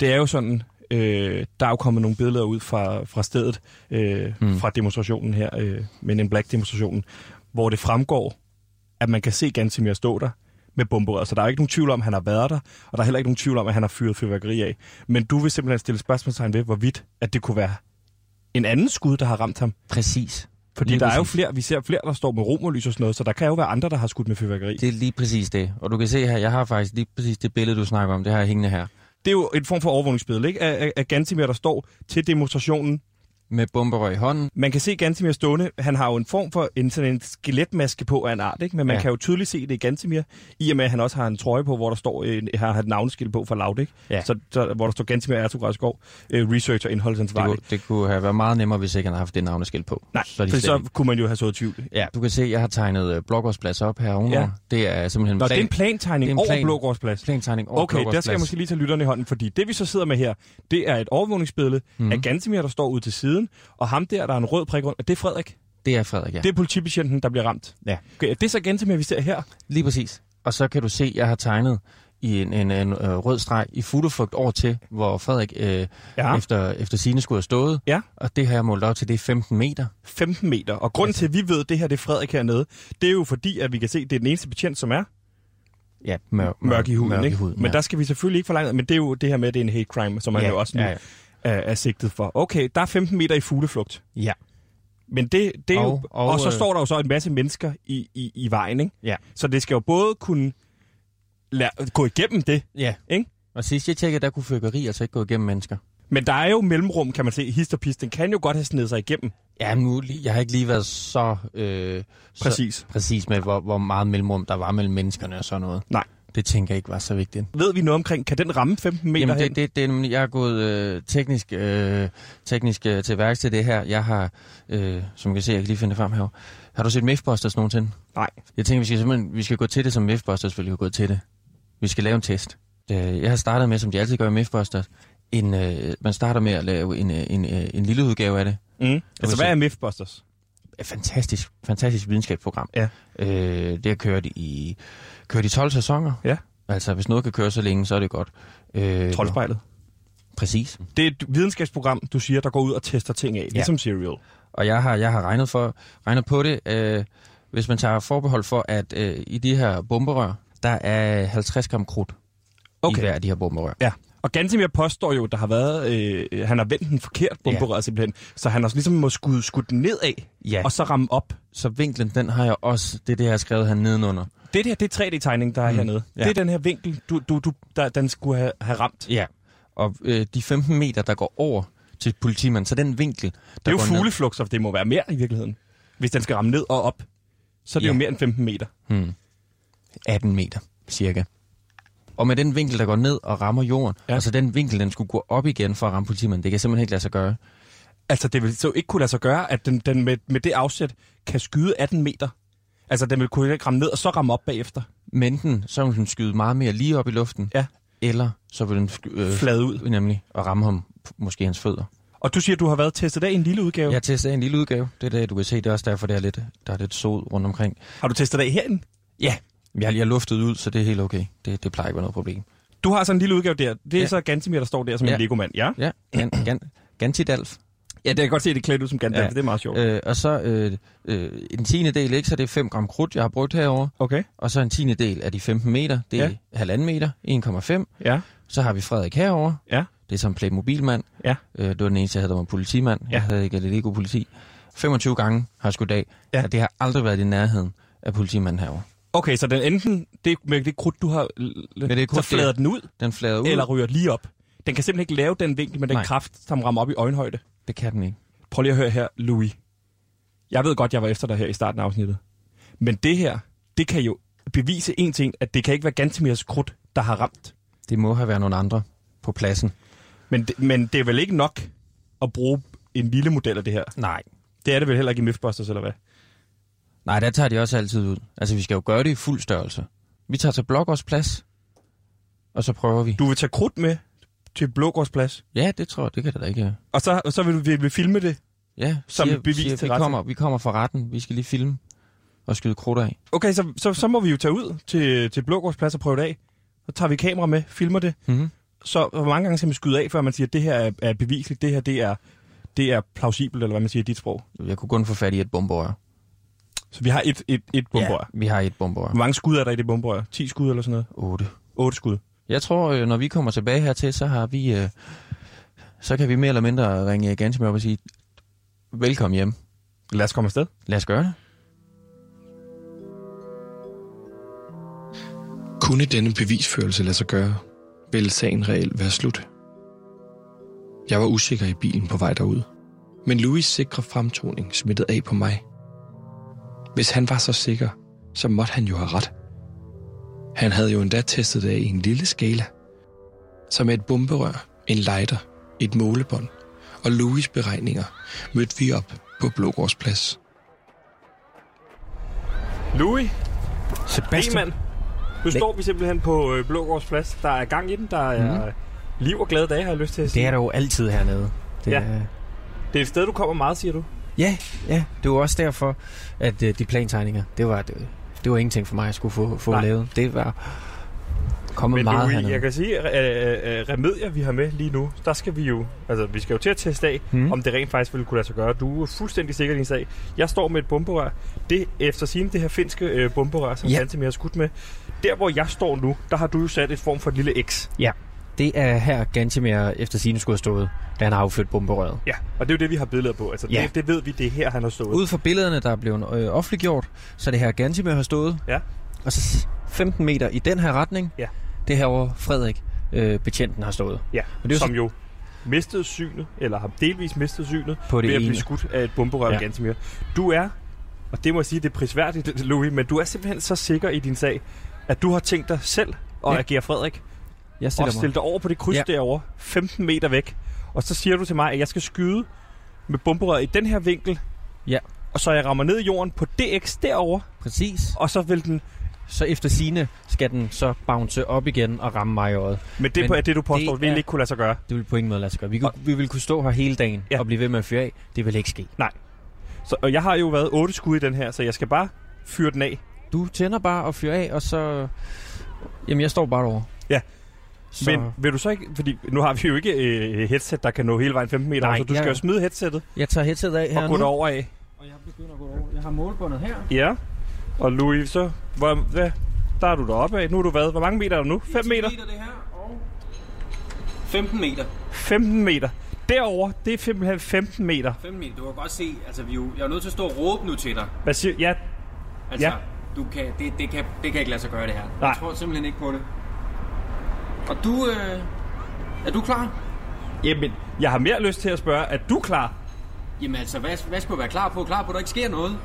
[SPEAKER 1] det er jo sådan, øh, der er jo kommet nogle billeder ud fra, fra stedet, øh, mm.
[SPEAKER 6] Mm.
[SPEAKER 1] fra demonstrationen her, øh, Men en Black-demonstrationen, hvor det fremgår, at man kan se Gansimir stå der med bomberøret. Så der er jo ikke nogen tvivl om, at han har været der, og der er heller ikke nogen tvivl om, at han har fyret fyrværkeri af. Men du vil simpelthen stille spørgsmålstegn ved, hvorvidt at det kunne være en anden skud, der har ramt ham.
[SPEAKER 6] Præcis.
[SPEAKER 1] Fordi
[SPEAKER 6] Lige
[SPEAKER 1] der er jo
[SPEAKER 6] præcis.
[SPEAKER 1] flere, vi ser flere, der står med romerlys og sådan noget, så der kan jo være andre, der har skudt med fyrværkeri.
[SPEAKER 6] Det er lige præcis det. Og du kan se her, jeg har faktisk lige præcis det billede, du snakker om. Det har jeg hængende her.
[SPEAKER 1] det er jo en form for overvågningsbillede, ikke? Af, af, af Gantimer, der står til demonstrationen
[SPEAKER 6] med bomberør i hånden.
[SPEAKER 1] Man kan se Gantimir stående. Han har jo en form for en, sådan en skeletmaske på af en art, ikke? men man
[SPEAKER 6] Ja.
[SPEAKER 1] ja. kan jo tydeligt se det i Gantimir, i og med at han også har en trøje på, hvor der står en, har har et navneskilt på for Laud, ikke?
[SPEAKER 6] Ja.
[SPEAKER 1] Så, så, hvor der står Gantimir Ertugras Skov, øh, researcher
[SPEAKER 6] Det kunne,
[SPEAKER 1] indholdsansvarlig.
[SPEAKER 6] det kunne have været meget nemmere, hvis ikke han havde haft det navneskilt på.
[SPEAKER 1] Nej,
[SPEAKER 6] så er de
[SPEAKER 1] for
[SPEAKER 6] slet
[SPEAKER 1] så
[SPEAKER 6] ikke-
[SPEAKER 1] kunne man jo have sået tvivl. Nå,
[SPEAKER 6] Ja, du kan se, jeg har tegnet øh, Blågårdsplads op her ovenover.
[SPEAKER 1] Ja.
[SPEAKER 6] Det er simpelthen
[SPEAKER 1] det er en plantegning
[SPEAKER 6] det er en
[SPEAKER 1] over
[SPEAKER 6] plan.
[SPEAKER 1] Blågårdsplads.
[SPEAKER 6] plantegning over
[SPEAKER 1] Okay, der skal jeg
[SPEAKER 6] Blågårdsplads.
[SPEAKER 1] måske lige tage lytterne i hånden, fordi det vi så sidder med her, det er et overvågningsbillede
[SPEAKER 6] Mhm.
[SPEAKER 1] mm. af Gantimir, der står ude til siden, og ham der, der er en rød prik rundt, og det er Frederik.
[SPEAKER 6] Det er Frederik, ja.
[SPEAKER 1] Ja. Det er politibetjenten, der bliver ramt.
[SPEAKER 6] Ja.
[SPEAKER 1] Okay, det er så Gantimir, vi ser her.
[SPEAKER 6] Lige præcis. Og så kan du se, at jeg har tegnet i en, en, en øh, rød streg i futteflugt over til, hvor Frederik øh, ja.
[SPEAKER 1] Ja.
[SPEAKER 6] efter, efter sine skulle have stået.
[SPEAKER 1] Ja.
[SPEAKER 6] Og det har jeg målt op til, det er 15 meter.
[SPEAKER 1] 15 meter. Og grunden til, at vi ved, at det her det er Frederik hernede, det er jo fordi, at vi kan se, at det er den eneste betjent, som er
[SPEAKER 6] Ja, mør,
[SPEAKER 1] mørk i huden.
[SPEAKER 6] Mørk
[SPEAKER 1] ikke?
[SPEAKER 6] i huden
[SPEAKER 1] Men
[SPEAKER 6] ja.
[SPEAKER 1] der skal vi selvfølgelig ikke forlange, men det er jo det her med, at det er en hate crime, som han
[SPEAKER 6] ja,
[SPEAKER 1] jo også nu
[SPEAKER 6] ja,
[SPEAKER 1] ja,
[SPEAKER 6] ja.
[SPEAKER 1] Er, er sigtet for. Okay, der er 15 meter i fugleflugt.
[SPEAKER 6] Ja.
[SPEAKER 1] Men det, det er
[SPEAKER 6] Og-
[SPEAKER 1] jo,
[SPEAKER 6] og,
[SPEAKER 1] og, og så
[SPEAKER 6] øh,
[SPEAKER 1] står der jo så en masse mennesker i, i, i vejen, ikke?
[SPEAKER 6] Ja.
[SPEAKER 1] Så det skal jo både kunne la- gå igennem det,
[SPEAKER 6] ja.
[SPEAKER 1] Ikke?
[SPEAKER 6] Og sidst jeg tjekkede, der kunne fyrkeri altså ikke gå igennem mennesker.
[SPEAKER 1] men der er jo mellemrum, kan man se. Hist og pis, den kan jo godt have snedet sig igennem.
[SPEAKER 6] Ja, nu, lige- jeg har ikke lige været så, øh, så
[SPEAKER 1] Præcis. Så...
[SPEAKER 6] præcis med, hvor, hvor meget mellemrum der var mellem menneskerne og sådan noget.
[SPEAKER 1] Nej.
[SPEAKER 6] Det tænker jeg ikke var så vigtigt.
[SPEAKER 1] Ved vi noget omkring, kan den ramme 15 meter
[SPEAKER 6] Jamen,
[SPEAKER 1] hen?
[SPEAKER 6] det, det, det er nemlig, jeg er gået øh, teknisk, øh, teknisk øh, til værks til det her. Jeg har, øh, som I kan se, jeg kan lige finde det frem her. Har du set Mythbusters nogensinde?
[SPEAKER 1] Nej.
[SPEAKER 6] Jeg tænker, vi skal simpelthen vi skal gå til det, som Mythbusters ville have gået til det. Vi skal lave en test. Øh, Jeg har startet med, som de altid gør i Mythbusters, en, øh, man starter med at lave en, øh, en, øh, en lille udgave af det.
[SPEAKER 1] Mm. Altså,
[SPEAKER 6] vil
[SPEAKER 1] hvad
[SPEAKER 6] se.
[SPEAKER 1] er Mythbusters?
[SPEAKER 6] Et fantastisk, fantastisk videnskabsprogram.
[SPEAKER 1] Ja.
[SPEAKER 6] Øh, det har kørt i, kørt i 12 sæsoner.
[SPEAKER 1] Ja.
[SPEAKER 6] Altså, hvis noget kan køre så længe, så er det godt. Øh,
[SPEAKER 1] Troldspejlet.
[SPEAKER 6] Præcis.
[SPEAKER 1] Det er et videnskabsprogram, du siger, der går ud og tester ting af, ja. ligesom Serial.
[SPEAKER 6] Og jeg har, jeg har regnet, for, regnet på det, øh, hvis man tager forbehold for, at øh, i de her bomberør, der er 50 gram krudt okay. i hver af de her bomberør.
[SPEAKER 1] Ja. Og Gantemir påstår jo, der har været, øh, han har vendt den forkert bomberøret ja. simpelthen, så han har ligesom må skudt, skudt den nedad,
[SPEAKER 6] Ja.
[SPEAKER 1] og så ramme op.
[SPEAKER 6] Så vinklen, den har jeg også, det er det, jeg har skrevet her nedenunder.
[SPEAKER 1] Det her, det er 3D-tegning, der er
[SPEAKER 6] Mm.
[SPEAKER 1] mm. hernede.
[SPEAKER 6] Ja.
[SPEAKER 1] Ja. Det er den her vinkel, du, du, du, der, den skulle have, have ramt.
[SPEAKER 6] Ja. Og øh, de 15 meter, der går over til politimanden, så den vinkel, der
[SPEAKER 1] Det er jo
[SPEAKER 6] går ned-
[SPEAKER 1] fugleflugt, så det må være mere i virkeligheden. Hvis den skal ramme ned og op, så er det
[SPEAKER 6] Ja.
[SPEAKER 1] ja. jo mere end 15 meter.
[SPEAKER 6] Hmm. 18 meter, cirka. Og med den vinkel, der går ned og rammer jorden, ja.
[SPEAKER 1] Ja.
[SPEAKER 6] og så den vinkel, den skulle gå op igen for at ramme politimanden, det kan simpelthen ikke lade sig gøre.
[SPEAKER 1] Altså, det vil så ikke kunne lade sig gøre, at den, den med, med det afsæt kan skyde 18 meter. Altså, den vil kunne ikke ramme ned og så ramme op bagefter.
[SPEAKER 6] Men den, så vil den skyde meget mere lige op i luften,
[SPEAKER 1] Ja.
[SPEAKER 6] eller så vil den sky- øh,
[SPEAKER 1] Flade ud.
[SPEAKER 6] nemlig og ramme ham, p- måske hans fødder.
[SPEAKER 1] Og du siger, at du har været testet af i en lille udgave. Ja.
[SPEAKER 6] Jeg testede en lille udgave, det er det, du kan se, det er også derfor, der er lidt, der er lidt sod rundt omkring.
[SPEAKER 1] Har du testet af herinde?
[SPEAKER 6] Ja, jeg, jeg luftede ud, så det er helt okay. Det, det plejer ikke at være noget problem.
[SPEAKER 1] Du har sådan en lille udgave der. Det er
[SPEAKER 6] Ja.
[SPEAKER 1] ja. så Gantimir, der står der som
[SPEAKER 6] Ja.
[SPEAKER 1] ja. en legomand, ja?
[SPEAKER 6] Ja, gan, gan, Gantidalf.
[SPEAKER 1] Ja, det kan jeg godt se, det er klædt ud som Gandalf.
[SPEAKER 6] Ja.
[SPEAKER 1] Ja. Det er meget sjovt.
[SPEAKER 6] Øh, og så øh, øh, en tiende del, ikke? så det er 5 gram krudt, jeg har brugt herover.
[SPEAKER 1] Okay.
[SPEAKER 6] Og så en tiende del af de 15 meter, det er
[SPEAKER 1] Ja.
[SPEAKER 6] halvanden meter, 1,5.
[SPEAKER 1] Ja.
[SPEAKER 6] Så har vi Frederik herover.
[SPEAKER 1] Ja.
[SPEAKER 6] Det er som Playmobil-mand.
[SPEAKER 1] Ja.
[SPEAKER 6] Øh, det var den eneste, jeg havde, der var politimand. Ja.
[SPEAKER 1] Ja.
[SPEAKER 6] Jeg havde ikke det god politi. 25 gange har jeg skudt af, ja.
[SPEAKER 1] Ja.
[SPEAKER 6] og det har aldrig været i nærheden af politimanden herover.
[SPEAKER 1] Okay, så den enten, det, med det krudt, du har,
[SPEAKER 6] det
[SPEAKER 1] det
[SPEAKER 6] krudt,
[SPEAKER 1] krudt, så flader
[SPEAKER 6] det-
[SPEAKER 1] den ud,
[SPEAKER 6] Den flader ud.
[SPEAKER 1] eller ryger lige op. Den kan simpelthen ikke lave den vinkel med den
[SPEAKER 6] Nej.
[SPEAKER 1] Nej. kraft, som rammer op i øjenhøjde.
[SPEAKER 6] Det kan den ikke.
[SPEAKER 1] Prøv lige at høre her, Louis. Jeg ved godt, jeg var efter dig her i starten af afsnittet. Men det her, det kan jo bevise en ting, at det kan ikke være Gantemirs krudt, der har ramt.
[SPEAKER 6] Det må have været nogle andre på pladsen.
[SPEAKER 1] Men det, men det er vel ikke nok at bruge en lille model af det her.
[SPEAKER 6] Nej.
[SPEAKER 1] Det er det vel heller ikke i Mythbusters, eller hvad?
[SPEAKER 6] Nej, der tager de også altid ud. Altså, vi skal jo gøre det i fuld størrelse. Vi tager til Blågårds plads, og så prøver vi.
[SPEAKER 1] Du vil tage krudt med til Blågårdsplads,
[SPEAKER 6] Ja, det tror jeg, det kan det da ikke.
[SPEAKER 1] og så, og så vil du vil, vil filme det.
[SPEAKER 6] Ja,
[SPEAKER 1] Som bevis til
[SPEAKER 6] vi,
[SPEAKER 1] retten.
[SPEAKER 6] kommer, vi kommer fra retten, vi skal lige filme og skyde krudt af.
[SPEAKER 1] Okay, så, så, så må vi jo tage ud til, til Blågårdsplads og prøve det af. Så tager vi kamera med, filmer det.
[SPEAKER 6] Mhm.
[SPEAKER 1] Så hvor mange gange skal man skyde af, før man siger, at det her er, er beviseligt, det her det er, det er plausibelt, eller hvad man siger i dit sprog.
[SPEAKER 6] Jeg kunne kun få fat i et bomberør.
[SPEAKER 1] Så vi har et, et, et bomberør.
[SPEAKER 6] Ja, vi har et bomberør.
[SPEAKER 1] Hvor mange skud er der i det bomberør? 10 skud eller sådan noget?
[SPEAKER 6] 8.
[SPEAKER 1] 8 skud.
[SPEAKER 6] Jeg tror, øh, når vi kommer tilbage hertil, så har vi... Øh, så kan vi mere eller mindre ringe Gansomir op og sige, velkommen hjem.
[SPEAKER 1] Lad os komme afsted.
[SPEAKER 6] Lad os gøre det.
[SPEAKER 3] Kunne denne bevisførelse lade sig gøre, ville sagen reelt være slut. Jeg var usikker i bilen på vej derud, Men Louis' sikre fremtoning smittede af på mig. Hvis han var så sikker, så måtte han jo have ret. Han havde jo endda testet det af i en lille skala. Så med et bomberør, en lighter, et målebånd og Louis' beregninger mødte vi op på Blågårdsplads.
[SPEAKER 1] Louis,
[SPEAKER 6] Sebastian,
[SPEAKER 1] Bemann. Nu står vi simpelthen på øh, Blågårdsplads. Der er gang i den. Der er liv og glade dage, har jeg lyst til at sige.
[SPEAKER 6] Mhm. det er der jo altid hernede. Det
[SPEAKER 1] Ja.
[SPEAKER 6] Er,
[SPEAKER 1] Det er et sted, du kommer meget, siger du.
[SPEAKER 6] Ja, ja. Det var også derfor, at øh, de plantegninger, det var, det, det var ingenting for mig, at skulle få, få
[SPEAKER 1] Nej.
[SPEAKER 6] lavet. Det var kommet
[SPEAKER 1] Men
[SPEAKER 6] meget
[SPEAKER 1] Louis,
[SPEAKER 6] hernede.
[SPEAKER 1] jeg kan sige, at øh, øh, remedier, vi har med lige nu, der skal vi jo, altså vi skal jo til at teste af,
[SPEAKER 6] Hmm.
[SPEAKER 1] mm. om det rent faktisk ville kunne lade sig gøre. Du er fuldstændig sikker i din sag. Jeg står med et bomberør. Det efter sigende det her finske øh, bomberør, som
[SPEAKER 6] Ja.
[SPEAKER 1] yeah. Tantemir har skudt med. Der, hvor jeg står nu, der har du jo sat et form for et lille X.
[SPEAKER 6] Det er her Gantemir efter sine skulle have stået, da han har affyldt bomberøret.
[SPEAKER 1] Ja. Og det er jo det, vi har billeder på. Altså,
[SPEAKER 6] Ja.
[SPEAKER 1] det, det ved vi, det er her, han har stået.
[SPEAKER 6] Ud fra billederne, der er blevet øh, offentliggjort, så er det her Gantemir har stået.
[SPEAKER 1] Ja.
[SPEAKER 6] Og så s- 15 meter i den her retning,
[SPEAKER 1] Ja.
[SPEAKER 6] det her, hvor Frederik, øh, betjenten, har stået.
[SPEAKER 1] Ja,
[SPEAKER 6] det er jo
[SPEAKER 1] som
[SPEAKER 6] så-
[SPEAKER 1] jo mistede synet, eller har delvis mistet synet,
[SPEAKER 6] På det
[SPEAKER 1] ved at
[SPEAKER 6] ene.
[SPEAKER 1] blive skudt af et bomberør
[SPEAKER 6] Ja.
[SPEAKER 1] ja. ganske mere. Du er, og det må jeg sige, det er prisværdigt, Louis, men du er simpelthen så sikker i din sag, at du har tænkt dig selv at
[SPEAKER 6] Ja.
[SPEAKER 1] ja. agere Frederik,
[SPEAKER 6] Jeg
[SPEAKER 1] og stille dig over på det kryds
[SPEAKER 6] Ja.
[SPEAKER 1] ja. derovre, 15 meter væk, og så siger du til mig, at jeg skal skyde med bomberøret i den her vinkel,
[SPEAKER 6] Ja.
[SPEAKER 1] og så jeg rammer ned i jorden på DX derovre,
[SPEAKER 6] Præcis.
[SPEAKER 1] og så vil den...
[SPEAKER 6] Så efter sine skal den så bounce op igen og ramme mig i øjet.
[SPEAKER 1] Men det
[SPEAKER 6] Men
[SPEAKER 1] er det, du påstår,
[SPEAKER 6] det
[SPEAKER 1] det
[SPEAKER 6] er-
[SPEAKER 1] ville ikke kunne lade sig gøre.
[SPEAKER 6] Det vil på ingen måde lade sig gøre. Vi, kunne, vi ville kunne stå her hele dagen ja.
[SPEAKER 1] Ja.
[SPEAKER 6] og blive ved med at fyre af. Det vil ikke ske.
[SPEAKER 1] Så, og jeg har jo været otte skud i den her, så jeg skal bare fyre den af.
[SPEAKER 6] Du tænder bare og fyrer af, og så... Jamen, jeg står bare derovre.
[SPEAKER 1] Ja.
[SPEAKER 6] Så...
[SPEAKER 1] Men vil du så ikke, fordi nu har vi jo ikke øh, headset, der kan nå hele vejen 15 meter,
[SPEAKER 6] Nej,
[SPEAKER 1] Nej, så du
[SPEAKER 6] jeg-
[SPEAKER 1] skal jo smide headsettet
[SPEAKER 6] Jeg tager headsetet af her
[SPEAKER 1] og gå
[SPEAKER 6] nu.
[SPEAKER 1] derover af.
[SPEAKER 6] Og jeg begynder at gå derover. Jeg har målbåndet her.
[SPEAKER 1] Ja, og Louis, så hvor, hvad, der er du deroppe af. Nu er du hvad? Hvor mange meter er du nu? 5 meter?
[SPEAKER 6] det her, og 15 meter.
[SPEAKER 1] 15 meter. Derover, det er simpelthen 15 meter.
[SPEAKER 8] 15 meter, du kan godt se, altså vi er jo, jeg er nødt til at stå og råbe nu til dig.
[SPEAKER 1] Hvad siger Ja,
[SPEAKER 8] Altså,
[SPEAKER 1] Ja.
[SPEAKER 8] du kan, det, det, kan, det kan ikke lade sig gøre det her.
[SPEAKER 1] Nej.
[SPEAKER 8] Jeg tror simpelthen ikke på det. Og du, øh, er du klar?
[SPEAKER 1] jamen, jeg har mere lyst til at spørge, er du klar?
[SPEAKER 8] Jamen altså, hvad, hvad skal du være klar på? Klar på, at der ikke sker noget?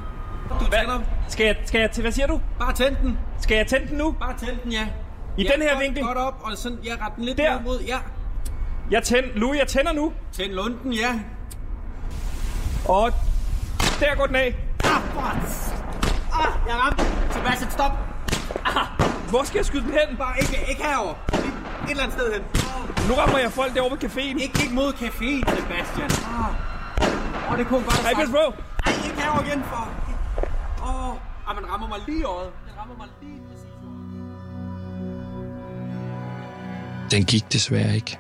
[SPEAKER 8] Du tænder.
[SPEAKER 1] Skal jeg, skal jeg til, hvad siger du?
[SPEAKER 8] Bare tænd den.
[SPEAKER 1] Skal jeg tænde den nu?
[SPEAKER 8] Bare tænd den, ja.
[SPEAKER 1] I
[SPEAKER 8] ja,
[SPEAKER 1] den her
[SPEAKER 8] godt,
[SPEAKER 1] vinkel?
[SPEAKER 8] Godt op, og sådan, ja, ret den lidt
[SPEAKER 1] Der.
[SPEAKER 8] ned mod, ja.
[SPEAKER 1] Jeg tænder, Louis, jeg tænder nu.
[SPEAKER 8] Tænd lunden, ja.
[SPEAKER 1] Og der går den af.
[SPEAKER 8] Ah, jeg ramte. Sebastian, stop.
[SPEAKER 1] Hvor skal jeg skyde den hen?
[SPEAKER 8] Bare ikke, ikke herover. Et eller andet sted hen. Åh,
[SPEAKER 1] Nu rammer jeg folk derovre ved caféen.
[SPEAKER 8] Ikke, ikke mod caféen, Sebastian. Åh, oh, det kunne hun godt
[SPEAKER 1] Ej,
[SPEAKER 8] have
[SPEAKER 1] pas
[SPEAKER 8] sagt.
[SPEAKER 1] på.
[SPEAKER 8] Ej, ikke herover igen, for... Åh, oh, ah, man rammer mig lige i øjet. Den rammer mig lige præcis i øjet.
[SPEAKER 3] Den gik desværre ikke.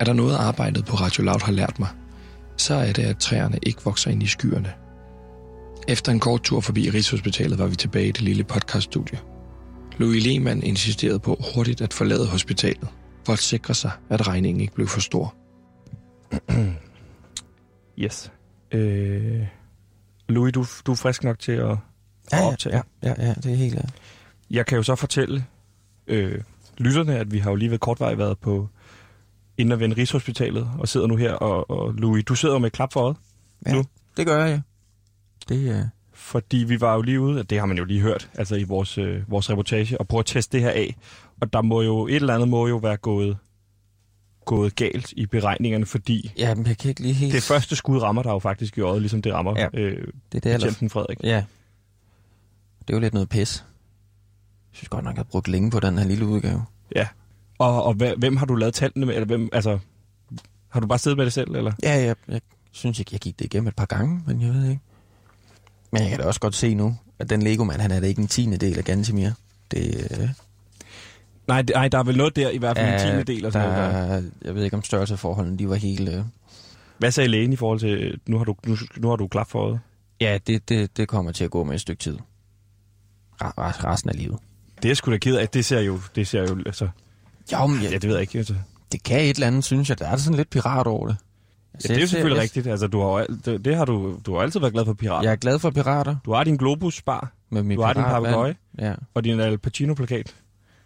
[SPEAKER 3] Er der noget arbejdet på Radio Loud har lært mig, så er det, at træerne ikke vokser ind i skyerne. Efter en kort tur forbi Rigshospitalet var vi tilbage i det lille podcaststudie. Louis Lehmann insisterede på hurtigt at forlade hospitalet, for at sikre sig, at regningen ikke blev for stor.
[SPEAKER 1] Yes. Øh, Louis, du, du er frisk nok til at...
[SPEAKER 6] Ja,
[SPEAKER 1] og
[SPEAKER 6] ja,
[SPEAKER 1] optage.
[SPEAKER 6] ja, ja, ja, det er helt... ja.
[SPEAKER 1] Jeg kan jo så fortælle øh, lytterne, at vi har jo lige ved kortvej været på inden at vende Rigshospitalet, og sidder nu her, og, og Louis, du sidder jo med et klap for øjet,
[SPEAKER 6] Det gør jeg, ja. Det øh, er...
[SPEAKER 1] fordi vi var jo lige ude, og det har man jo lige hørt, altså i vores, øh, vores reportage, og prøve at teste det her af. Og der må jo, et eller andet må jo være gået, gået galt i beregningerne, fordi
[SPEAKER 6] Ja, men jeg kan ikke lige helt...
[SPEAKER 1] det første skud rammer der jo faktisk i øjet, ligesom det rammer
[SPEAKER 6] Ja.
[SPEAKER 1] ja. øh,
[SPEAKER 6] Det er det, aller...
[SPEAKER 1] betjenten Frederik.
[SPEAKER 6] Ja. Det er jo lidt noget pis. Jeg synes godt nok, jeg har brugt længe på den her lille udgave.
[SPEAKER 1] Og, og hva- hvem har du lavet tallene med? Eller hvem, altså, har du bare siddet med det selv? Eller?
[SPEAKER 6] Ja, jeg, jeg synes, jeg, jeg gik det igennem et par gange, men jeg ved ikke. Men jeg kan da også godt se nu, at den Lego-mand, han er da ikke en tiende del af Gantemir. Det øh,
[SPEAKER 1] Nej, det- nej, der er vel noget der i hvert fald en
[SPEAKER 6] er-
[SPEAKER 1] tiende del. Og sådan noget. der.
[SPEAKER 6] der, Jeg ved ikke, om størrelseforholdene, de var helt... Øh,
[SPEAKER 1] Hvad sagde lægen i forhold til, øh, nu har du, nu, nu har du klap for øjet?
[SPEAKER 6] ja, det, det, det kommer til at gå med et stykke tid. Re- re- resten af livet.
[SPEAKER 1] Det er jeg sgu da ked af. Det ser jo, det ser jo, altså,
[SPEAKER 6] Jo, men
[SPEAKER 1] ja,
[SPEAKER 6] jeg,
[SPEAKER 1] det ved jeg ikke. Altså. Ja,
[SPEAKER 6] det kan et eller andet, synes jeg. Der er sådan lidt pirat over det. Altså,
[SPEAKER 1] det er jo
[SPEAKER 6] jeg ser-
[SPEAKER 1] selvfølgelig
[SPEAKER 6] jeg-
[SPEAKER 1] rigtigt. Altså, du har, jo al- det, det har du, du har altid været glad for pirater.
[SPEAKER 6] Jeg
[SPEAKER 1] Ja.
[SPEAKER 6] er glad for pirater.
[SPEAKER 1] Du har din Globus-bar
[SPEAKER 6] Med min
[SPEAKER 1] Du har din
[SPEAKER 6] piratmand.
[SPEAKER 1] papegøje.
[SPEAKER 6] Ja,
[SPEAKER 1] og din Al Pacino-plakat,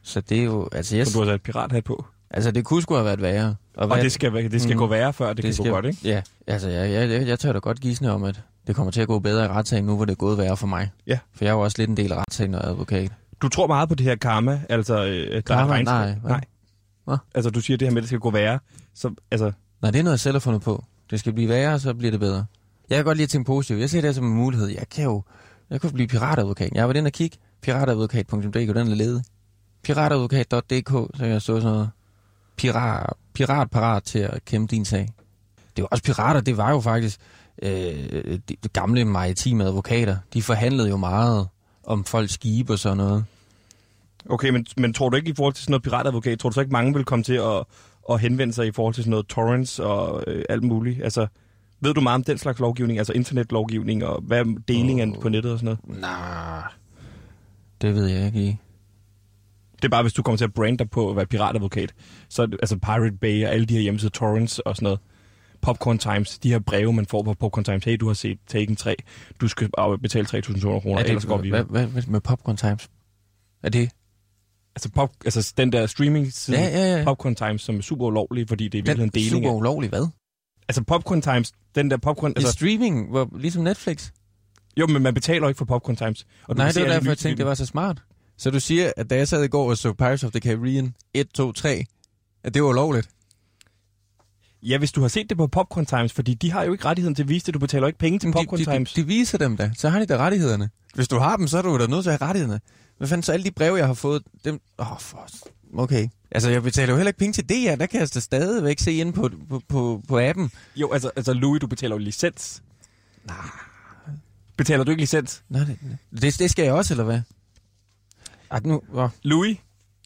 [SPEAKER 6] så det er jo... Altså, jeg,
[SPEAKER 1] som du har sat pirathat på.
[SPEAKER 6] Altså, det kunne sgu have været værre.
[SPEAKER 1] Og det skal, være- det skal mm. gå værre, før det, det kan skal... gå godt, ikke?
[SPEAKER 6] Ja, altså, jeg, jeg, jeg, jeg tør da godt gisne om, at det kommer til at gå bedre i retssagen nu, hvor det er gået værre for mig.
[SPEAKER 1] Ja.
[SPEAKER 6] For jeg er jo også lidt en del af retssagen og advokat.
[SPEAKER 1] Du tror meget på det her karma, altså... øh, at
[SPEAKER 6] Karma?
[SPEAKER 1] der er regnskab.
[SPEAKER 6] Nej, hvad?
[SPEAKER 1] nej.
[SPEAKER 6] Hvad?
[SPEAKER 1] Altså, du siger det her med, at det skal gå værre. Så, altså,
[SPEAKER 6] Nej, det er noget, jeg selv har fundet på. Det skal blive værre, så bliver det bedre. Jeg kan godt lide at tænke positivt. Jeg ser det her som en mulighed. Jeg kan jo jeg kunne blive piratadvokat. Jeg var den og kigge. Piratadvokat.dk, den er ledig. Piratadvokat.dk, så jeg så sådan noget. Pirat, pirat parat til at kæmpe din sag. Det var også pirater, det var jo faktisk øh, de, de gamle maritime advokater. De forhandlede jo meget om folks skibe og sådan noget.
[SPEAKER 1] okay, men, men tror du ikke i forhold til sådan noget piratadvokat, tror du så ikke mange vil komme til at, at henvende sig i forhold til sådan noget torrents og øh, alt muligt? Altså, ved du meget om den slags lovgivning, altså internetlovgivning og hvad er deling oh. på nettet og sådan noget?
[SPEAKER 6] Nej, det ved jeg ikke lige.
[SPEAKER 1] Det er bare, hvis du kommer til at brande dig på at være piratadvokat. Så er det- altså Pirate Bay og alle de her hjemmesider, Torrents og sådan noget. Popcorn Times, de her breve, man får på Popcorn Times. Hey, du har set Taken 3. Du skal af- betale 3.200 kroner,
[SPEAKER 6] Er
[SPEAKER 1] ja,
[SPEAKER 6] det,
[SPEAKER 1] ellers går vi.
[SPEAKER 6] hvad, hvad, hvad med Popcorn Times? Er det?
[SPEAKER 1] Altså, pop, altså den der streaming-side,
[SPEAKER 6] Ja, ja, ja.
[SPEAKER 1] Popcorn Times, som er super ulovlig, fordi det er virkelig
[SPEAKER 6] Den
[SPEAKER 1] en deling.
[SPEAKER 6] super
[SPEAKER 1] Super.
[SPEAKER 6] ulovlig, hvad?
[SPEAKER 1] Altså Popcorn Times, den der Popcorn...
[SPEAKER 6] Altså, I
[SPEAKER 1] Altså,
[SPEAKER 6] streaming, hvor, ligesom Netflix.
[SPEAKER 1] jo, men man betaler jo ikke for Popcorn Times. Og
[SPEAKER 6] Nej, det var derfor, jeg tænkte, det var så smart. Så du siger, at da jeg sad i går og så Pirates of the Caribbean 1, 2, 3, at det var ulovligt?
[SPEAKER 1] Ja, hvis du har set det på Popcorn Times, fordi de har jo ikke rettigheden til at vise det. Du betaler ikke penge til
[SPEAKER 6] Men
[SPEAKER 1] Popcorn
[SPEAKER 6] de, de,
[SPEAKER 1] Times.
[SPEAKER 6] de, de viser dem da, så har de da rettighederne. Hvis du har dem, så er du da nødt til at have rettighederne. Hvad fanden, så alle de breve, jeg har fået, dem... Åh, oh, for... Okay. Altså, jeg betaler jo heller ikke penge til DR, der kan jeg da stadigvæk se ind på, på, på, på appen.
[SPEAKER 1] Jo, altså, altså Louis, du betaler jo licens. Nej. Betaler du ikke licens?
[SPEAKER 6] Nå, det, det, det skal jeg også, eller hvad? Ej, nu... Oh.
[SPEAKER 1] Louis,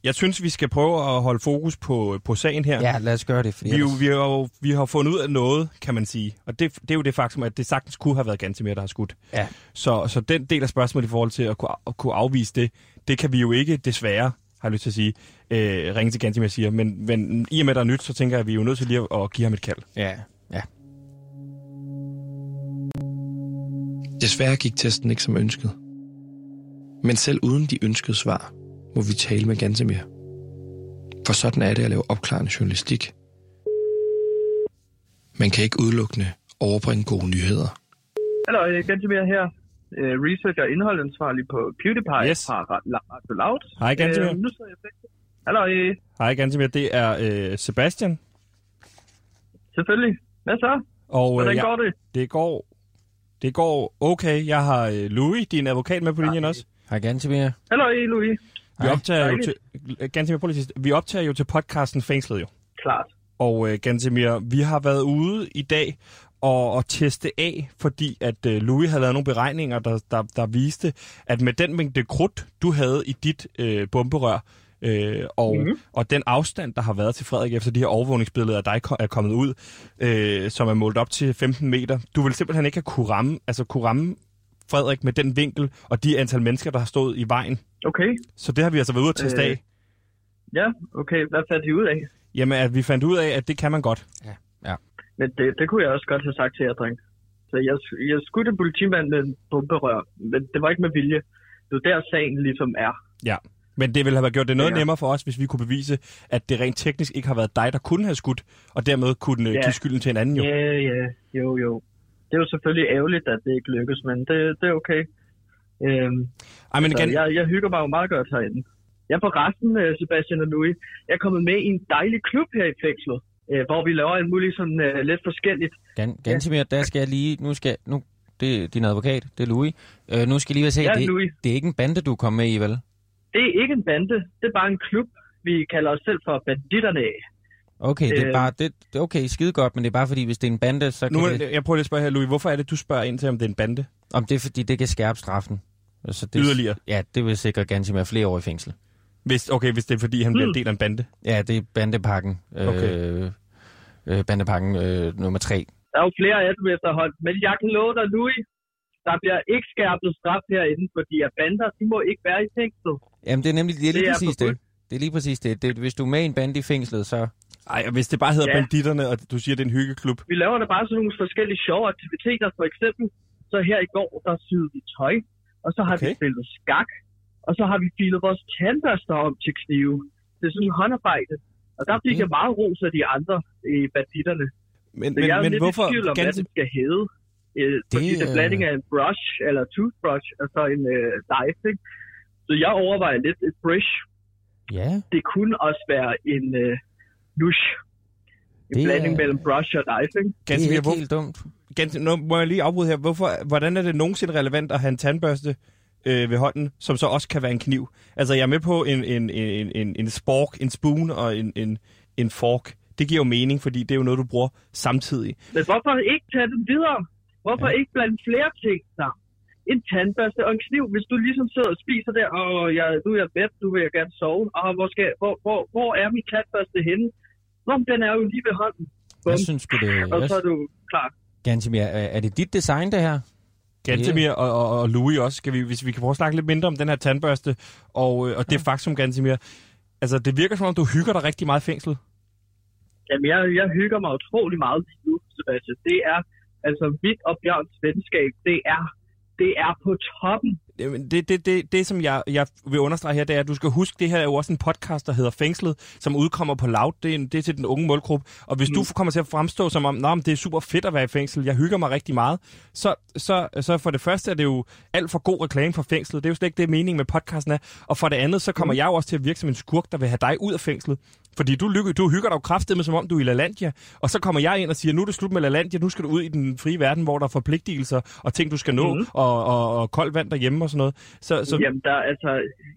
[SPEAKER 1] jeg synes, vi skal prøve at holde fokus på, på sagen her.
[SPEAKER 6] Ja, lad os gøre det, fordi
[SPEAKER 1] Vi, er jo,
[SPEAKER 6] ellers-
[SPEAKER 1] vi, har jo, vi har fundet ud af noget, kan man sige. Og det, det er jo det faktum, at det sagtens kunne have været Gantemir, der har skudt.
[SPEAKER 6] Ja.
[SPEAKER 1] Så, så den del af spørgsmålet i forhold til at kunne, at kunne afvise det, det kan vi jo ikke desværre, har jeg lyst til at sige, øh, ringe til Gantemir og siger. Men, men i og med, der er nyt, så tænker jeg, at vi er jo nødt til lige at, at give ham et kald.
[SPEAKER 6] Ja, ja.
[SPEAKER 3] Desværre gik testen ikke som ønsket. Men selv uden de ønskede svar, må vi tale med Gantemir. For sådan er det at lave opklarende journalistik. Man kan ikke udelukkende overbringe gode nyheder.
[SPEAKER 2] Hallo, jeg er Gantemir her. Øh, researcher og indholdansvarlig på PewDiePie
[SPEAKER 1] Yes.
[SPEAKER 2] fra Ra- La- Radio Loud.
[SPEAKER 1] Hej, Gantemir.
[SPEAKER 2] Øh, nu sidder jeg fængsel. Hallo, øh,
[SPEAKER 1] Hej Gantemir, det er øh, Sebastian.
[SPEAKER 2] selvfølgelig. Hvad så?
[SPEAKER 1] Og, øh,
[SPEAKER 2] Hvordan
[SPEAKER 1] jeg,
[SPEAKER 2] går det?
[SPEAKER 1] Det går, det går okay. Jeg har øh, Louis, din advokat, med på linjen også.
[SPEAKER 6] Hej Gantemir.
[SPEAKER 2] Hallo, øh, Louis.
[SPEAKER 1] Vi optager, jo til, Gantemir, prøv lige til sidst. vi optager jo til podcasten Fængslet jo.
[SPEAKER 2] Klart.
[SPEAKER 1] Og øh, Gantemir, vi har været ude i dag og, og teste af, fordi at øh, Louis havde lavet nogle beregninger, der, der, der viste, at med den mængde krudt, du havde i dit øh, bomberør, øh, og, mm-hmm. og den afstand, der har været til Frederik, efter de her overvågningsbilleder af dig ko- er kommet ud, øh, som er målt op til 15 meter, du vil simpelthen ikke have kunne ramme, altså kunne ramme Frederik med den vinkel og de antal mennesker, der har stået i vejen.
[SPEAKER 2] Okay.
[SPEAKER 1] Så det har vi altså været ude at teste øh.
[SPEAKER 2] Øh.
[SPEAKER 1] af.
[SPEAKER 2] Ja, okay. Hvad fandt I ud af?
[SPEAKER 1] Jamen, at vi fandt ud af, at det kan man godt.
[SPEAKER 2] Men det, det kunne jeg også godt have sagt til jer, dreng. Så jeg, jeg skudte en politimand med en bomberør, men det var ikke med vilje. Det er der, sagen ligesom er.
[SPEAKER 1] Ja. Men det ville have gjort det noget ja.
[SPEAKER 2] Ja.
[SPEAKER 1] nemmere for os, hvis vi kunne bevise, at det rent teknisk ikke har været dig, der kunne have skudt, og dermed kunne ja.
[SPEAKER 2] Ja.
[SPEAKER 1] give skylden til en anden jo. Ja.
[SPEAKER 2] Ja, ja. Jo, jo. Det er jo selvfølgelig ærgerligt, at det ikke lykkes, men det, det er okay. Øhm,
[SPEAKER 1] Ej, men
[SPEAKER 2] så
[SPEAKER 1] igen,
[SPEAKER 2] jeg, jeg hygger mig jo meget godt herinde. Jeg er på resten, øh, Sebastian og Louis. Jeg er kommet med i en dejlig klub her i fængslet, øh, hvor vi laver alt muligt sådan øh, lidt forskelligt.
[SPEAKER 6] Gan, Gantemir, der skal jeg lige... Nu skal... Nu, det er din advokat, det er Louis. Øh, nu skal jeg lige være sikker,
[SPEAKER 2] Ja,
[SPEAKER 6] det,
[SPEAKER 2] Louis.
[SPEAKER 6] det er ikke en bande, du kom med i, vel?
[SPEAKER 2] Det er ikke en bande, det er bare en klub. Vi kalder os selv for banditterne. af.
[SPEAKER 6] Okay, det er
[SPEAKER 2] Øh.
[SPEAKER 6] bare... Det, det- okay, skide godt, men det er bare fordi, hvis det er en bande, så kan
[SPEAKER 1] nu,
[SPEAKER 6] det,
[SPEAKER 1] er- jeg prøver lige at spørge her, Louis, hvorfor er det, du spørger ind til, om det er en bande?
[SPEAKER 6] Om det er fordi, det kan skærpe straffen. Så det,
[SPEAKER 1] Yderligere.
[SPEAKER 6] Ja, det vil sikre Gantemir flere år i fængsel.
[SPEAKER 1] Hvis, okay, hvis det er, fordi han bliver
[SPEAKER 2] Hmm.
[SPEAKER 1] en del af en bande.
[SPEAKER 6] Ja, det er bandepakken. Øh,
[SPEAKER 1] Okay.
[SPEAKER 6] øh, bandepakken øh, nummer tre.
[SPEAKER 2] Der er jo flere af dem efterhånden, men jeg kan love dig, Louis, der bliver ikke skærpet straf herinde, fordi at bander, de må ikke være i fængslet.
[SPEAKER 6] Jamen, det er nemlig det er
[SPEAKER 2] Det
[SPEAKER 6] lige det
[SPEAKER 2] er
[SPEAKER 6] er præcis det.
[SPEAKER 2] forbudt.
[SPEAKER 6] Det er lige præcis det. det. Hvis du er med i en bande i fængslet, så...
[SPEAKER 1] Ej, og hvis det bare hedder ja.
[SPEAKER 2] Ja.
[SPEAKER 1] banditterne, og du siger, det er en hyggeklub.
[SPEAKER 2] Vi laver da bare sådan nogle forskellige sjove aktiviteter, for eksempel. Så her i går, der syede vi tøj, og så har okay.
[SPEAKER 1] Okay.
[SPEAKER 2] vi spillet skak, og så har vi filet vores tandbørster om til knive. Det er sådan håndarbejde. Og der fik jeg meget ros af de andre i banditterne.
[SPEAKER 1] Men,
[SPEAKER 2] Så men, jeg
[SPEAKER 1] men,
[SPEAKER 2] er men
[SPEAKER 1] men
[SPEAKER 2] lidt hvorfor? i tvivl
[SPEAKER 1] hvorfor...
[SPEAKER 2] om, hvad
[SPEAKER 1] Ganske,
[SPEAKER 2] det skal hedde. Øh, fordi
[SPEAKER 6] Det,
[SPEAKER 2] det er
[SPEAKER 6] øh,
[SPEAKER 2] blanding af en brush eller toothbrush, og så en øh, knife, ikke? Så jeg overvejer lidt et brush.
[SPEAKER 6] Ja,
[SPEAKER 2] Det kunne også være en øh, nush. En
[SPEAKER 6] Det er-
[SPEAKER 2] blanding mellem brush og knife, ikke?
[SPEAKER 6] det er
[SPEAKER 1] ganske,
[SPEAKER 6] ikke
[SPEAKER 1] hvor,
[SPEAKER 6] helt dumt.
[SPEAKER 1] ganske, nu må jeg lige afbryde her. Hvorfor, hvordan er det nogensinde relevant at have en tandbørste øh, ved hånden, som så også kan være en kniv? Altså, jeg er med på en, en, en, en, en spork, en spoon og en, en, en fork. Det giver jo mening, fordi det er jo noget, du bruger samtidig.
[SPEAKER 2] Men hvorfor ikke tage den videre? Hvorfor ja. ikke blande flere ting sammen? En tandbørste og en kniv. Hvis du ligesom sidder og spiser der, og jeg, nu er jeg bedt, nu vil jeg gerne sove. Og hvor, skal, hvor, hvor, hvor er min tandbørste henne? Nå, men den er jo lige ved hånden.
[SPEAKER 6] Jeg synes sgu, det
[SPEAKER 2] Og så
[SPEAKER 6] er...
[SPEAKER 2] er du klar.
[SPEAKER 6] Gansimir, er er det dit design, det her?
[SPEAKER 1] Gantemir yeah. og, og, og Louis også, skal vi, hvis vi kan prøve at snakke lidt mindre om den her tandbørste, og, øh, og det ja. faktum, Gantemir. Altså, det virker som om, du hygger dig rigtig meget i fængslet.
[SPEAKER 2] Jamen, jeg, jeg hygger mig utrolig meget lige nu, Sebastian. Det er, altså, mit og Bjørns venskab, det er, det er på toppen.
[SPEAKER 1] Jamen, Det, det, det, det som jeg, jeg vil understrege her, det er, at du skal huske, det her er jo også en podcast, der hedder Fængslet, som udkommer på Loud. Det er, en, det er til den unge målgruppe. Og hvis mm. du kommer til at fremstå som om, at det er super fedt at være i fængsel, jeg hygger mig rigtig meget, så, så, så for det første er det jo alt for god reklame for fængslet. Det er jo slet ikke det, meningen med podcasten er. Og for det andet, så kommer mm. jeg jo også til at virke som en skurk, der vil have dig ud af fængslet. Fordi du, lykke, du hygger dig jo kraftedeme, som om du er i LaLandia. Og så kommer jeg ind og siger, nu er det slut med LaLandia, nu skal du ud i den frie verden, hvor der er forpligtelser og ting, du skal nå, mm. og, og, og koldt vand derhjemme og sådan noget. Så,
[SPEAKER 2] Så...
[SPEAKER 1] så
[SPEAKER 2] Jamen, der, altså,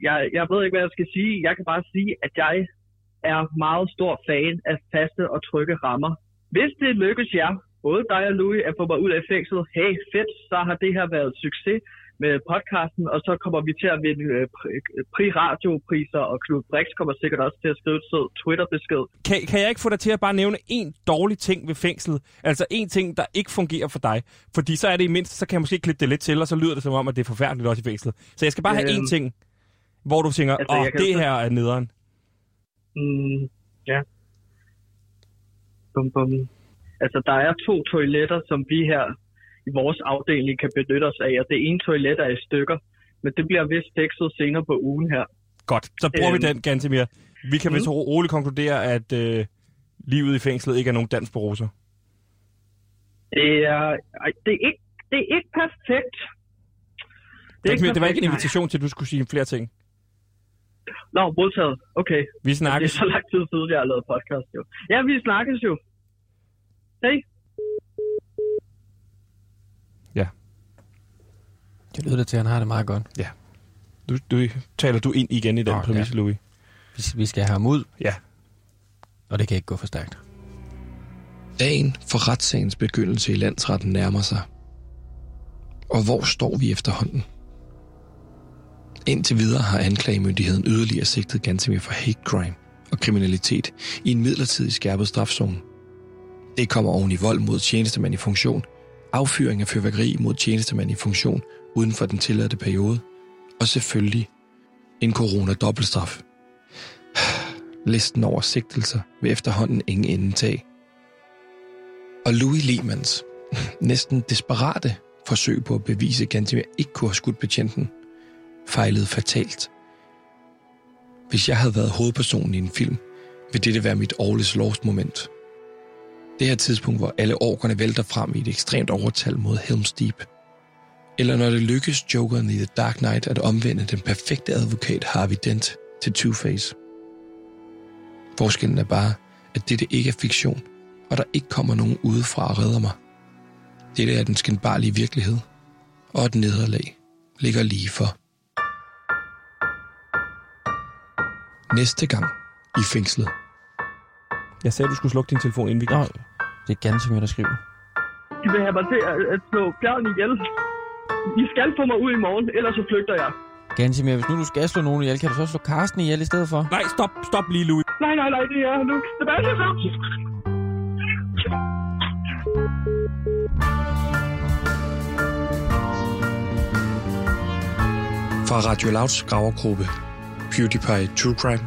[SPEAKER 2] jeg, jeg ved ikke, hvad jeg skal sige. Jeg kan bare sige, at jeg er meget stor fan af faste og trygge rammer. Hvis det lykkes jer, både dig og Louis, at få mig ud af fængslet, hey, fedt, så har det her været et succes med podcasten, og så kommer vi til at vinde øh, pri- pri-radiopriser, og Knud Brix kommer sikkert også til at skrive et sød Twitter-besked.
[SPEAKER 1] kan, kan jeg ikke få dig til at bare nævne en dårlig ting ved fængslet? Altså en ting, der ikke fungerer for dig. Fordi så er det i mindst, så kan jeg måske klippe det lidt til, og så lyder det som om, at det er forfærdeligt også i fængslet. Så jeg skal bare have
[SPEAKER 2] Øhm,
[SPEAKER 1] en ting, hvor du tænker, åh,
[SPEAKER 2] altså,
[SPEAKER 1] altså, oh,
[SPEAKER 2] jeg kan
[SPEAKER 1] det
[SPEAKER 2] jo så-
[SPEAKER 1] her er nederen.
[SPEAKER 2] Mm, ja. Bum, bum. Altså, der er to toiletter, som vi her i vores afdeling kan benytte os af, og det ene toilet er i stykker, men det bliver vist tekstet senere på ugen her.
[SPEAKER 1] Godt, så bruger øhm, vi
[SPEAKER 2] Øhm,
[SPEAKER 1] den,
[SPEAKER 2] Mm.
[SPEAKER 1] Gantemir. Vi kan vist ro- roligt konkludere, at øh, livet i fængslet ikke er nogen dans på roser.
[SPEAKER 2] Det er, ej, det er, ikke, det er ikke perfekt.
[SPEAKER 1] Det, ikke, det var ikke en
[SPEAKER 2] perfekt,
[SPEAKER 1] invitation til, at du skulle sige flere ting.
[SPEAKER 2] nej. Nå, modtaget. Okay.
[SPEAKER 1] Vi
[SPEAKER 2] Det
[SPEAKER 1] snakkes.
[SPEAKER 2] er så lang tid siden, jeg har lavet podcast, jo. Ja, vi snakkes jo. Hej.
[SPEAKER 6] Det lyder da til, at han har det meget godt.
[SPEAKER 1] Du, du, taler du ind igen i den
[SPEAKER 6] Nå,
[SPEAKER 1] oh, præmis, ja. Louis?
[SPEAKER 6] Vi- Vi skal have ham ud,
[SPEAKER 1] Ja.
[SPEAKER 6] og det kan ikke gå for stærkt.
[SPEAKER 3] Dagen for retssagens begyndelse i landsretten nærmer sig. Og hvor står vi efterhånden? Indtil videre har anklagemyndigheden yderligere sigtet Gantemir for hate crime og kriminalitet i en midlertidig skærpet strafzone. Det kommer oven i vold mod tjenestemand i funktion, affyring af fyrværkeri mod tjenestemand i funktion uden for den tilladte periode, og selvfølgelig en corona-dobbeltstraf. [sighs] Listen over sigtelser vil efterhånden ingen ende tage og Louis Lehmans næsten desperate forsøg på at bevise, at Gantemir ikke kunne have skudt betjenten, fejlede fatalt. Hvis jeg havde været hovedpersonen i en film, ville dette være mit årligt lost moment. Det her tidspunkt, hvor alle orkerne vælter frem i et ekstremt overtal mod Helm's Deep. Eller når det lykkes Jokeren i The Dark Knight at omvende den perfekte advokat Harvey Dent til Two-Face. Forskellen er bare, at dette ikke er fiktion, og der ikke kommer nogen udefra og redder mig. Dette er den skændbarlige virkelighed, og et nederlag ligger lige for. Næste gang i fængslet.
[SPEAKER 1] Jeg sagde, at du skulle slukke din telefon, inden vi
[SPEAKER 6] Nå, det er Gansimir, der skriver.
[SPEAKER 2] De vil have mig til at, at slå bjergen ihjel. I skal få mig ud i morgen, ellers så flygter jeg.
[SPEAKER 6] Gansimir, hvis nu du skal slå nogen ihjel, kan du så slå Karsten ihjel i stedet for?
[SPEAKER 1] Nej, stop, stop lige, Louis.
[SPEAKER 2] Nej, nej, nej, det er Luke. Sebastian!
[SPEAKER 3] Fra Radio Louds gravergruppe, PewDiePie True Crime.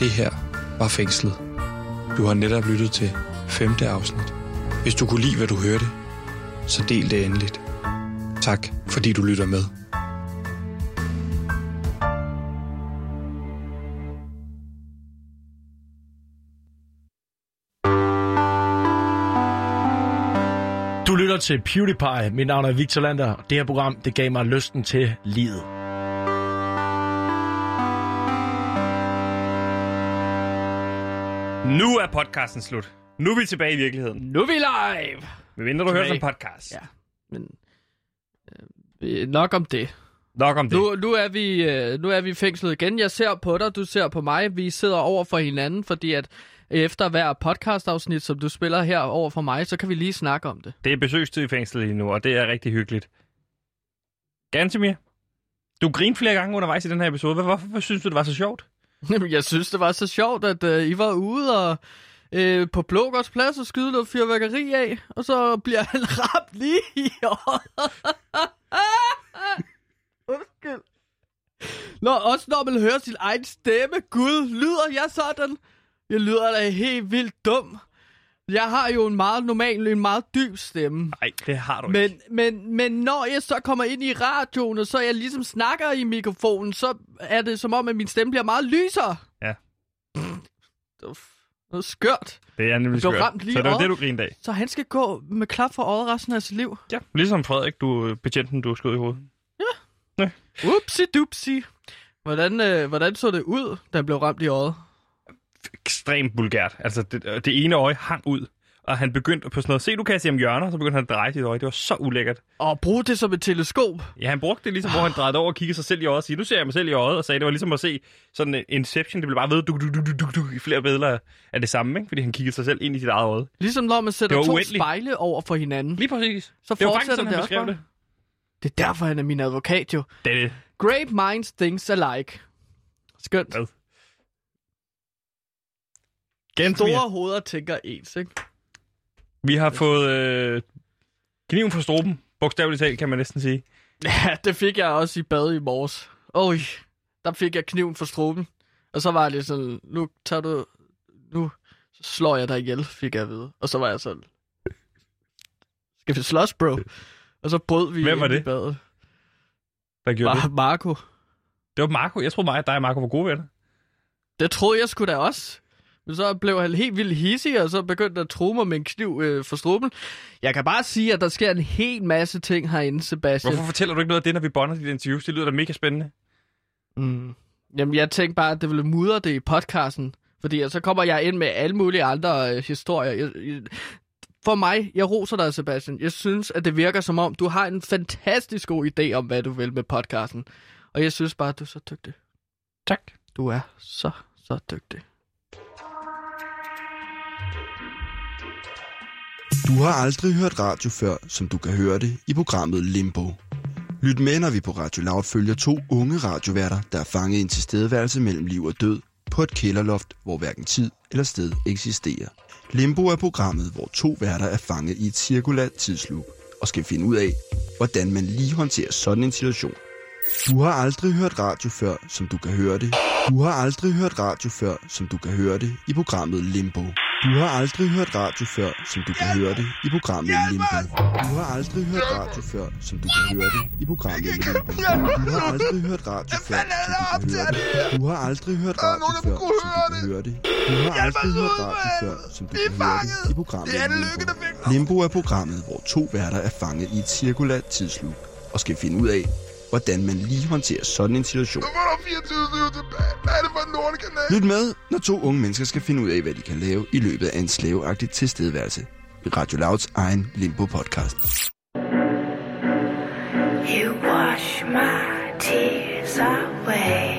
[SPEAKER 3] Det her var fængslet. Du har netop lyttet til femte afsnit. Hvis du kunne lide, hvad du hørte, så del det endeligt. Tak, fordi du lytter med.
[SPEAKER 9] til PewDiePie. Mit navn er Victor Lander. Det her program, det gav mig lysten til livet.
[SPEAKER 1] Nu er podcasten slut. Nu er vi tilbage i virkeligheden.
[SPEAKER 2] Nu er vi live!
[SPEAKER 1] Men mindre du hører som
[SPEAKER 2] Tilbage.
[SPEAKER 1] podcast.
[SPEAKER 2] Ja. Men øh, nok om det.
[SPEAKER 1] Nok om det.
[SPEAKER 2] Nu, nu, er vi, øh, nu er vi i fængslet igen. Jeg ser på dig, du ser på mig. Vi sidder over for hinanden, fordi at efter hver podcastafsnit, som du spiller her over for mig, så kan vi lige snakke om det.
[SPEAKER 1] Det er besøgstid i fængslet lige nu, og det er rigtig hyggeligt. Gantemir, du grinede flere gange undervejs i den her episode. Hvor- Hvorfor, hvorfor synes du, det var så sjovt?
[SPEAKER 2] [laughs] Jamen, jeg synes, det var så sjovt, at øh, I var ude og øh, på Blågårds plads og skyde noget fyrværkeri af, og så bliver han [laughs] ramt lige i øjet. [laughs] Undskyld. Nå, også når man hører sin egen stemme, Gud, lyder jeg sådan? Jeg lyder da helt vildt dum. Jeg har jo en meget normal, en meget dyb stemme.
[SPEAKER 1] Nej, det har du ikke.
[SPEAKER 2] Men, men, men når jeg så kommer ind i radioen, og så jeg ligesom snakker i mikrofonen, så er det som om, at min stemme bliver meget lysere.
[SPEAKER 1] Ja.
[SPEAKER 2] Det var f- noget skørt.
[SPEAKER 1] Det er nemlig
[SPEAKER 2] Du blev
[SPEAKER 1] skørt.
[SPEAKER 2] ramt lige
[SPEAKER 1] Så det var
[SPEAKER 2] over.
[SPEAKER 1] det, du grinede af.
[SPEAKER 2] Så han skal gå med klap for øjet resten af sit liv.
[SPEAKER 1] Ja. Ligesom Frederik, du øh, betjenten, du skød i hovedet.
[SPEAKER 2] Upsi dupsi. Hvordan, øh, hvordan så det ud, da han blev ramt i øjet?
[SPEAKER 1] Ekstremt vulgært. Altså, det, øh, det ene øje hang ud. Og han begyndte på sådan noget, se du kan se om hjørner, så begyndte han at dreje sit øje. Det var så ulækkert.
[SPEAKER 2] Og brug det som et teleskop.
[SPEAKER 1] Ja, han brugte det ligesom, hvor han drejede over og kiggede sig selv i øjet og sagde, nu ser jeg mig selv i øjet, og sagde, det var ligesom at se sådan en Inception, det blev bare ved, du, du, du, du, du, du, i flere billeder af det samme, ikke? fordi han kiggede sig selv ind i sit eget øje.
[SPEAKER 2] Ligesom når man sætter
[SPEAKER 1] Det var
[SPEAKER 2] to
[SPEAKER 1] uendeligt.
[SPEAKER 2] spejle over for hinanden.
[SPEAKER 1] Lige præcis.
[SPEAKER 2] Så
[SPEAKER 1] det var
[SPEAKER 2] fortsætter
[SPEAKER 1] faktisk sådan,
[SPEAKER 2] det
[SPEAKER 1] han
[SPEAKER 2] også
[SPEAKER 1] beskrev
[SPEAKER 2] bare.
[SPEAKER 1] det.
[SPEAKER 2] Det er derfor, han er min advokat jo.
[SPEAKER 1] Det er det.
[SPEAKER 2] Great minds thinks alike. Skønt.
[SPEAKER 1] Hvad?
[SPEAKER 2] Store hoveder tænker ens, ikke?
[SPEAKER 1] Vi har fået øh, kniven for stroben. Bogstaveligt talt, kan man næsten sige.
[SPEAKER 2] [laughs] Ja, det fik jeg også i bad i morges. Oj, der fik jeg kniven for struben. Og så var jeg lidt sådan, nu tager du... Nu slår jeg dig ihjel, fik jeg at vide. Og så var jeg sådan... Skal vi slås, bro? Og så brød vi
[SPEAKER 1] Hvem var
[SPEAKER 2] ind i
[SPEAKER 1] det?
[SPEAKER 2] badet.
[SPEAKER 1] Der gjorde
[SPEAKER 2] Mar-
[SPEAKER 1] det.
[SPEAKER 2] Marco.
[SPEAKER 1] Det var Marco. Jeg tror mig, at dig og Marco var gode venner.
[SPEAKER 2] Det troede jeg skulle da også. Men så blev han helt vildt hissig, og så begyndte at true mig med en kniv øh, for struben. Jeg kan bare sige, at der sker en hel masse ting herinde, Sebastian.
[SPEAKER 1] Hvorfor fortæller du ikke noget af det, når vi bonder dit interviews? Det lyder da mega spændende.
[SPEAKER 2] Mm. Jamen, jeg tænkte bare, at det ville mudre det i podcasten. Fordi at så kommer jeg ind med alle mulige andre øh, historier. Jeg, jeg, for mig, jeg roser dig, Sebastian. Jeg synes, at det virker som om, du har en fantastisk god idé om, hvad du vil med podcasten. Og jeg synes bare, at du er så dygtig.
[SPEAKER 1] Tak.
[SPEAKER 2] Du er så, så dygtig.
[SPEAKER 3] Du har aldrig hørt radio før, som du kan høre det i programmet Limbo. Lyt med, når vi på Radio Loud følger to unge radioværter, der er fanget i en tilstedeværelse mellem liv og død på et kælderloft, hvor hverken tid eller sted eksisterer. Limbo er programmet, hvor to værter er fanget i et cirkulært tidsloop og skal finde ud af, hvordan man lige håndterer sådan en situation. Du har aldrig hørt radio før, som du kan høre det. Du har aldrig hørt radio før, som du kan høre det i programmet Limbo. Du har aldrig hørt radio før, som du kan høre det i programmet Limbo. Du har aldrig hørt radio før, som du kan høre det i programmet Limbo. Du har aldrig hørt radio før, som du kan høre det. Du har aldrig hørt radio før, som du kan høre det. Du har aldrig hørt radio før, som du kan høre det i programmet Limbo. Limbo er programmet, hvor to værter er fanget i et cirkulært tidsloop og skal finde ud af, hvordan man lige håndterer sådan en situation. Lyt med, når to unge mennesker skal finde ud af, hvad de kan lave i løbet af en slaveagtig tilstedeværelse. I Radio Louds egen Limbo-podcast.
[SPEAKER 10] You wash my tears away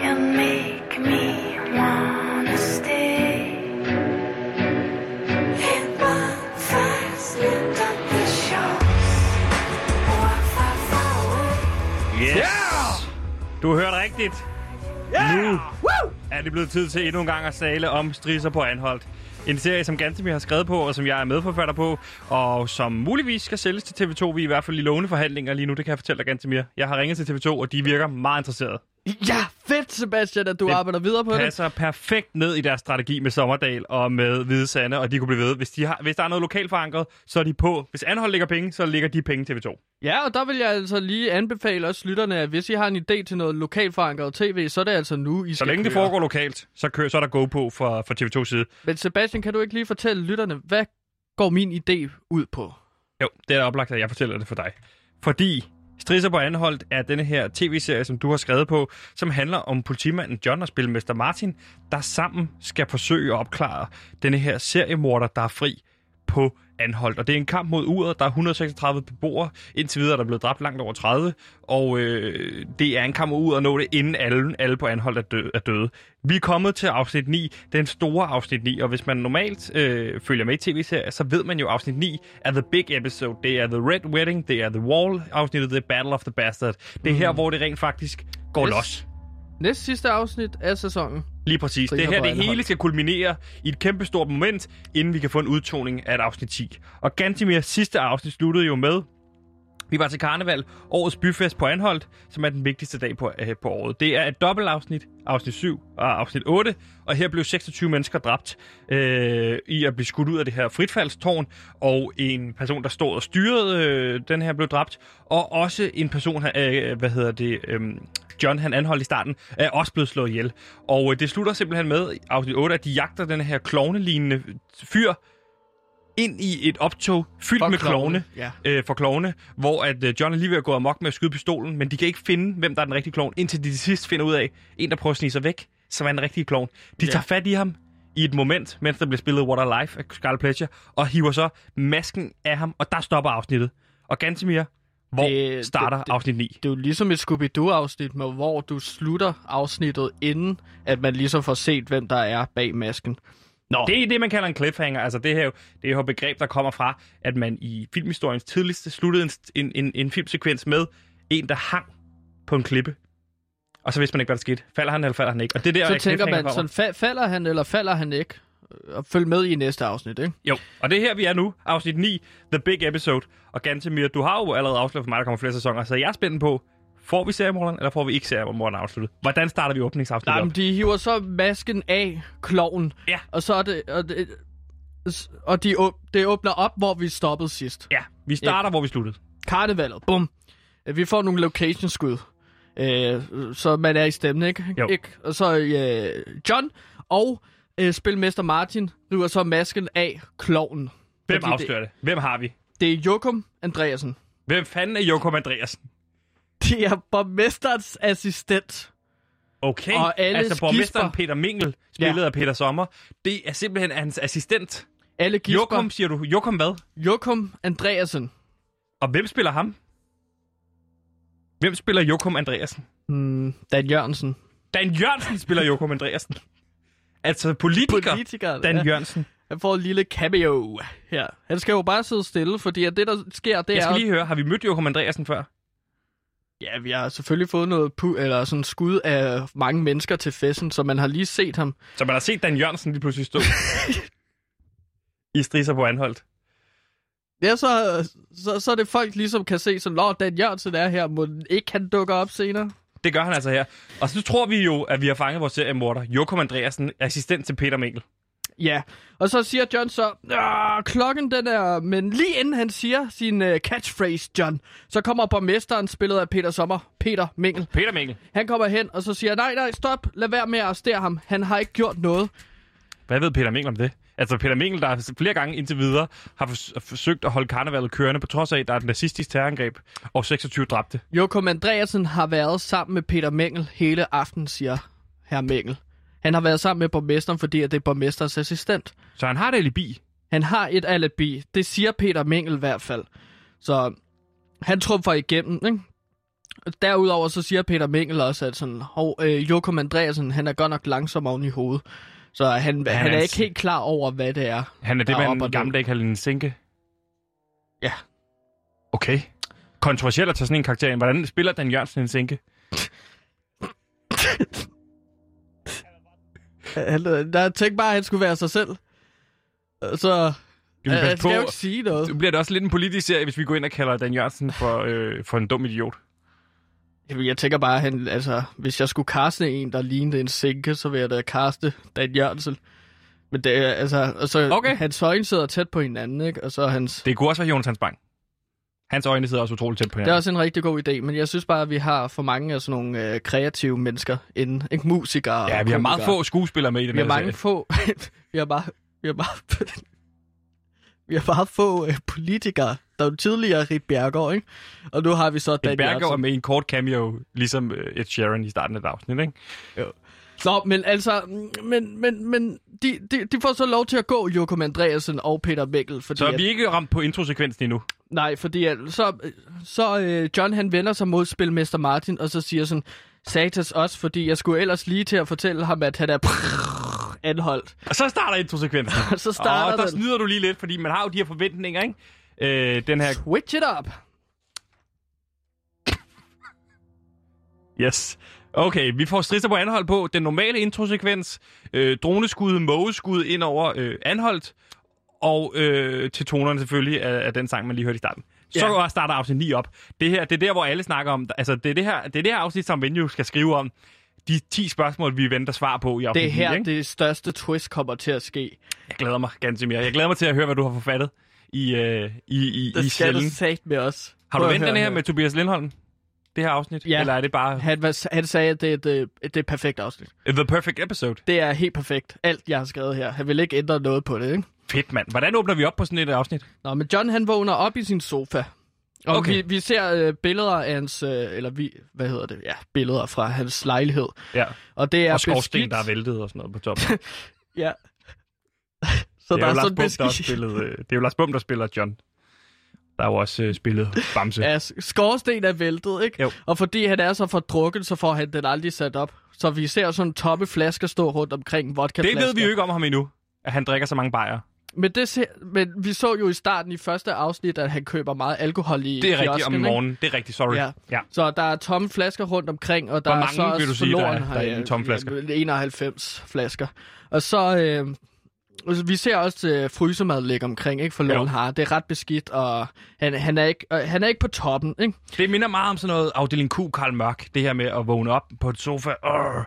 [SPEAKER 10] and make me wanna stay. And bonfires lit up the shores. Walk far, far away.
[SPEAKER 1] Yes! Yeah! Du hørte rigtigt. Yeah! Nu er det blevet tid til endnu en gang at sale om Strisser på Anholdt. En serie, som Gantemir har skrevet på, og som jeg er medforfatter på, og som muligvis skal sælges til TV2. Vi er i hvert fald i lovende forhandlinger lige nu, det kan jeg fortælle dig, Gantemir. Jeg har ringet til TV2, og de virker meget interesserede.
[SPEAKER 2] Ja, fedt, Sebastian, at du
[SPEAKER 1] Det
[SPEAKER 2] det arbejder videre på det.
[SPEAKER 1] passer perfekt ned i deres strategi med Sommerdal og med Hvide Sande, og de kunne blive ved. Hvis, de har, hvis der er noget lokalt forankret, så er de på. Hvis Anhold lægger penge, så ligger de penge TV2.
[SPEAKER 2] Ja, og der vil jeg altså lige anbefale også lytterne, at hvis I har en idé til noget lokalt forankret tv, så er det altså nu, I
[SPEAKER 1] Så
[SPEAKER 2] skal
[SPEAKER 1] længe det
[SPEAKER 2] køre.
[SPEAKER 1] foregår lokalt, så, kører, så er der go på for, for TV2 side.
[SPEAKER 2] Men Sebastian, kan du ikke lige fortælle lytterne, hvad går min idé ud på.
[SPEAKER 1] Jo, det er da oplagt, at jeg fortæller det for dig. Fordi Strisser på Anholdt er denne her tv-serie, som du har skrevet på, som handler om politimanden John og spilmester Martin, der sammen skal forsøge at opklare denne her seriemorder, der er fri på Anholdt. Og det er en kamp mod uret. Der er 136 beboere. Indtil videre er der blevet dræbt langt over 30. Og øh, det er en kamp mod uret at nå det, inden alle, alle på Anholdt er, dø- er døde. Vi er kommet til afsnit 9. Den store afsnit 9. Og hvis man normalt øh, følger med i tv-serier, så ved man jo, at afsnit 9 er The Big Episode. Det er The Red Wedding. Det er The Wall. Afsnittet The Battle of the Bastard. Det er her, hvor det rent faktisk går
[SPEAKER 2] Yes.
[SPEAKER 1] los.
[SPEAKER 2] Næst sidste afsnit af sæsonen.
[SPEAKER 1] Lige præcis.
[SPEAKER 2] Striber
[SPEAKER 1] Det her,
[SPEAKER 2] på
[SPEAKER 1] det
[SPEAKER 2] Anholt.
[SPEAKER 1] hele skal kulminere i et kæmpestort moment, inden vi kan få en udtoning af et afsnit 10. Og Gantimir sidste afsnit sluttede jo med, vi var til karneval, årets byfest på Anholdt, som er den vigtigste dag på, øh, på året. Det er et dobbeltafsnit, afsnit 7 og afsnit 8, og her blev 26 mennesker dræbt øh, i at blive skudt ud af det her fritfaldstårn, og en person, der stod og styrede øh, den her, blev dræbt, og også en person, han- øh, hvad hedder det, øh, John, han anholdt i starten, er også blevet slået ihjel. Og øh, det slutter simpelthen med, i afsnit 8, at de jagter den her klovnelignende fyr, ind i et optog fyldt
[SPEAKER 2] For
[SPEAKER 1] med
[SPEAKER 2] klovne,
[SPEAKER 1] klovne,
[SPEAKER 2] ja.
[SPEAKER 1] øh, for klovne, hvor at øh, John er lige ved at gå amok med at skyde pistolen, men de kan ikke finde, hvem der er den rigtige klovn, indtil de til sidst finder ud af, en der prøver at snige sig væk, som er den rigtige klovn. De
[SPEAKER 2] Ja.
[SPEAKER 1] tager fat i ham i et moment, mens der bliver spillet What a Life af Scarlet Pleasure, og hiver så masken af ham, og der stopper afsnittet. Og Gantemir, hvor det, starter det, afsnit 9?
[SPEAKER 2] Det er jo ligesom et Scooby-Doo-afsnit, men hvor du slutter afsnittet, inden at man ligesom får set, hvem der er bag masken. Nå.
[SPEAKER 1] Det er det, man kalder en cliffhanger. Altså, det her jo- det er jo et begreb, der kommer fra, at man i filmhistoriens tidligste sluttede en, en, en, en filmsekvens med en, der hang på en klippe. Og så vidste man ikke, hvad der skete. Falder han, eller falder han ikke? Og det er der,
[SPEAKER 2] så
[SPEAKER 1] at
[SPEAKER 2] tænker
[SPEAKER 1] cliffhanger
[SPEAKER 2] man,
[SPEAKER 1] kommer.
[SPEAKER 2] sådan, fa- falder han eller falder han ikke? Og følg med i næste afsnit, ikke?
[SPEAKER 1] Jo, og det er her, vi er nu. Afsnit 9, The Big Episode. Og Gantemir, du har jo allerede afsløret for mig, der kommer flere sæsoner, så jeg er spændt på, får vi seriemorderen, eller får vi ikke seriemorderen afsluttet? Hvordan starter vi åbningsafsnittet?
[SPEAKER 2] Nej,
[SPEAKER 1] op?
[SPEAKER 2] men de hiver så masken af kloven.
[SPEAKER 1] Ja.
[SPEAKER 2] Og så er det... Og det s- og de åb- det åbner op, hvor vi stoppede sidst.
[SPEAKER 1] Ja, vi starter, hvor vi sluttede.
[SPEAKER 2] Karnevalet, bum. Øh, Vi får nogle location-skud. Øh, så man er i stemmen, ikke?
[SPEAKER 1] Jo.
[SPEAKER 2] ikke? Og så øh, John og øh, spilmester Martin river så masken af kloven.
[SPEAKER 1] Hvem afslører det? Hvem har vi?
[SPEAKER 2] Det er Jokum Andreasen.
[SPEAKER 1] Hvem fanden er Jokum Andreasen?
[SPEAKER 2] Det er borgmesterens assistent.
[SPEAKER 1] Okay,
[SPEAKER 2] Og alle
[SPEAKER 1] altså borgmesteren
[SPEAKER 2] skisper.
[SPEAKER 1] Peter Mingel, spillet
[SPEAKER 2] Ja.
[SPEAKER 1] ja. af Peter Sommer, det er simpelthen hans assistent.
[SPEAKER 2] Alle gisper.
[SPEAKER 1] Jokum, siger du. Jokum hvad?
[SPEAKER 2] Jokum Andreasen.
[SPEAKER 1] Og hvem spiller ham? Hvem spiller Jokum Andreasen?
[SPEAKER 2] Hmm, Dan Jørgensen.
[SPEAKER 1] Dan Jørgensen spiller Jokum Andreasen. [laughs] Altså politiker,
[SPEAKER 2] Politiker,
[SPEAKER 1] Dan
[SPEAKER 2] ja.
[SPEAKER 1] Jørgensen.
[SPEAKER 2] Han får en lille cameo her. Han skal jo bare sidde stille, fordi at det, der sker, det
[SPEAKER 1] Jeg
[SPEAKER 2] er...
[SPEAKER 1] skal lige høre, har vi mødt Jokum Andreasen før?
[SPEAKER 2] Ja, vi har selvfølgelig fået noget pu- eller sådan skud af mange mennesker til festen, så man har lige set ham.
[SPEAKER 1] Så man har set Dan Jørgensen lige pludselig
[SPEAKER 2] [laughs]
[SPEAKER 1] stå i strisser på anholdt.
[SPEAKER 2] Ja, så, så, så er det folk ligesom kan se, så Lord Dan Jørgensen er her, må den ikke han dukker op senere.
[SPEAKER 1] Det gør han altså her. Og så tror vi jo, at vi har fanget vores seriemorder, Jokum Andreasen, assistent til Peter Mingel.
[SPEAKER 2] Ja, og så siger John så, "Ah, klokken den er, men lige inden han siger sin uh, catchphrase, John, så kommer borgmesteren spillet af Peter Sommer, Peter Mingel.
[SPEAKER 1] Peter Mingel.
[SPEAKER 2] Han kommer hen, og så siger, nej, nej, stop, lad være med at arrestere ham, han har ikke gjort noget.
[SPEAKER 1] Hvad ved Peter Mingel om det? Altså Peter Mingel, der flere gange indtil videre har fors- forsøgt at holde karnevalet kørende, på trods af, at der er et nazistisk terrorangreb og 26 dræbte.
[SPEAKER 2] Jokum Andreasen har været sammen med Peter Mengel hele aftenen, siger herr Mengel. Han har været sammen med borgmesteren, fordi at det er borgmesterens assistent.
[SPEAKER 1] Så han har et alibi?
[SPEAKER 2] Han har et alibi. Det siger Peter Mengel i hvert fald. Så han trumfer igennem, ikke? Derudover så siger Peter Mengel også, at sådan, Hov, øh, Jokum Andreasen, han er godt nok langsom oven i hovedet. Så han, han,
[SPEAKER 1] er
[SPEAKER 2] han er
[SPEAKER 1] en-
[SPEAKER 2] ikke helt klar over, hvad det er.
[SPEAKER 1] Han er det,
[SPEAKER 2] der op
[SPEAKER 1] man
[SPEAKER 2] og
[SPEAKER 1] i
[SPEAKER 2] ned.
[SPEAKER 1] gamle dage kaldte en sinke.
[SPEAKER 2] Ja.
[SPEAKER 1] Okay. Kontroversielt at tage sådan en karakter ind. Hvordan spiller Dan Jørgensen en sinke?
[SPEAKER 2] Han, der tænkte bare, at han skulle være sig selv. Så...
[SPEAKER 1] Skal vi
[SPEAKER 2] Øh,
[SPEAKER 1] passe
[SPEAKER 2] skal jeg
[SPEAKER 1] på?
[SPEAKER 2] jo ikke sige noget.
[SPEAKER 1] Det bliver det også lidt en politisk serie, hvis vi går ind og kalder Dan Jørgensen for, øh, for en dum idiot.
[SPEAKER 2] Jamen, Jeg tænker bare, han, altså, hvis jeg skulle kaste en, der lignede en sinke, så ville jeg da kaste Dan Jørgensen. Men det, er, altså, og så okay. hans øjne sidder tæt på hinanden, ikke? Og så hans...
[SPEAKER 1] Det kunne også være Jonas Hans Bang. Hans øjne sidder også utroligt tæt på
[SPEAKER 2] Det er
[SPEAKER 1] hinanden.
[SPEAKER 2] også en rigtig god idé, men jeg synes bare, at vi har for mange af sådan nogle øh, kreative mennesker inden. Ikke musikere
[SPEAKER 1] Ja, vi har meget få skuespillere med i den
[SPEAKER 2] [laughs] Vi har
[SPEAKER 1] her
[SPEAKER 2] mange
[SPEAKER 1] serie.
[SPEAKER 2] få... vi har bare... Vi har bare... [laughs] Vi har bare få øh, politikere. Der er jo tidligere Rit Bjergård, ikke? Og nu har vi så Dan
[SPEAKER 1] Dan Berger var
[SPEAKER 2] Jørgensen.
[SPEAKER 1] med i en kort cameo, ligesom øh, Ed Sheeran i starten af et afsnit, ikke?
[SPEAKER 2] Jo. Nå, men altså, mm, men, men, men de, de, de får så lov til at gå, Jokum Andreasen og Peter Mikkel. Fordi
[SPEAKER 1] Så er
[SPEAKER 2] at-
[SPEAKER 1] vi ikke ramt på introsekvensen endnu.
[SPEAKER 2] Nej, fordi at så, så øh, John han vender sig mod spilmester Martin, og så siger sådan, Satas også, fordi jeg skulle ellers lige til at fortælle ham, at han er anholdt.
[SPEAKER 1] Og så starter [laughs] introsekvensen.
[SPEAKER 2] Og så starter
[SPEAKER 1] og der
[SPEAKER 2] den.
[SPEAKER 1] snyder du lige lidt, fordi man har jo de her forventninger, ikke? Øh, den her...
[SPEAKER 2] Switch it up!
[SPEAKER 1] Yes. Okay, vi får strister på anhold på. Den normale introsekvens. Øh, droneskud, mågeskud ind over øh, anholdt. Og øh, til tonerne selvfølgelig af, af den sang, man lige hørte i starten. Så
[SPEAKER 11] Ja.
[SPEAKER 1] ja. starter afsnit 9 op. Det her, det er der, hvor alle snakker om... Altså, det er det her, det er det her afsnit, som Venue skal skrive om. De 10 spørgsmål, vi venter svar på i afsnit
[SPEAKER 2] Det er her,
[SPEAKER 1] ni, ikke?
[SPEAKER 2] det største twist kommer til at ske.
[SPEAKER 1] Jeg glæder mig ganske mere. Jeg glæder mig til at høre, hvad du har forfattet i, øh, i, i, i
[SPEAKER 2] Det skal du
[SPEAKER 1] cellen.
[SPEAKER 2] sagt med os.
[SPEAKER 1] Har du
[SPEAKER 2] Prøv at
[SPEAKER 1] ventet
[SPEAKER 2] høre
[SPEAKER 1] den her med Tobias Lindholm? Det her afsnit?
[SPEAKER 2] Ja.
[SPEAKER 1] Eller er det bare
[SPEAKER 2] Han, var- han sagde, at det er det, det er et perfekt afsnit.
[SPEAKER 1] the perfect episode?
[SPEAKER 2] Det er helt perfekt. Alt, jeg har skrevet her. Han vil ikke ændre noget på det, ikke?
[SPEAKER 1] Fedt, mand. Hvordan åbner vi op på sådan et øh, afsnit?
[SPEAKER 2] Nå, men John han vågner op i sin sofa. Og
[SPEAKER 1] Okay.
[SPEAKER 2] okay. vi, vi ser øh, billeder af hans, øh, eller vi, hvad hedder det, ja, billeder fra hans lejlighed.
[SPEAKER 1] Ja.
[SPEAKER 2] Og det er
[SPEAKER 1] og skorsten,
[SPEAKER 2] beskidt.
[SPEAKER 1] der er væltet og sådan noget på
[SPEAKER 2] [laughs]
[SPEAKER 1] toppen.
[SPEAKER 2] Ja.
[SPEAKER 1] så
[SPEAKER 2] Så
[SPEAKER 1] det er,
[SPEAKER 2] der er,
[SPEAKER 1] jo Lars Bum,
[SPEAKER 2] sådan
[SPEAKER 1] der også
[SPEAKER 2] beskidt.
[SPEAKER 1] spillede, øh, det er jo Lars Bum, der spiller John. Der er jo også øh, spillet Bamse.
[SPEAKER 2] Ja, s- skorsten er væltet, ikke? Jo. Og fordi han er så fordrukket, så får han den aldrig sat op. Så vi ser sådan tomme flasker stå rundt omkring vodka
[SPEAKER 1] det ved vi jo ikke om ham endnu, at han drikker så mange bajer.
[SPEAKER 2] Men, det ser, men vi så jo i starten i første afsnit, at han køber meget alkohol i
[SPEAKER 1] Det er rigtigt om
[SPEAKER 2] kiosken, ikke?
[SPEAKER 1] morgenen. Det er rigtigt, sorry.
[SPEAKER 2] Ja.
[SPEAKER 1] ja.
[SPEAKER 2] Så der er tomme flasker rundt omkring, og der
[SPEAKER 1] Hvor
[SPEAKER 2] er
[SPEAKER 1] mange
[SPEAKER 2] så også
[SPEAKER 1] vil du sige, der er-
[SPEAKER 2] forloren
[SPEAKER 1] der
[SPEAKER 2] her,
[SPEAKER 1] er i
[SPEAKER 2] ja,
[SPEAKER 1] tomme flasker?
[SPEAKER 2] 91 flasker. Og så... Øh, altså, vi ser også øh, frysemad ligge omkring, ikke? For Lone har. Det er ret beskidt, og han, han, er ikke, øh, han er ikke på toppen, ikke?
[SPEAKER 1] Det minder meget om sådan noget afdeling Q, Karl Mørk. Det her med at vågne op på et sofa. Arr.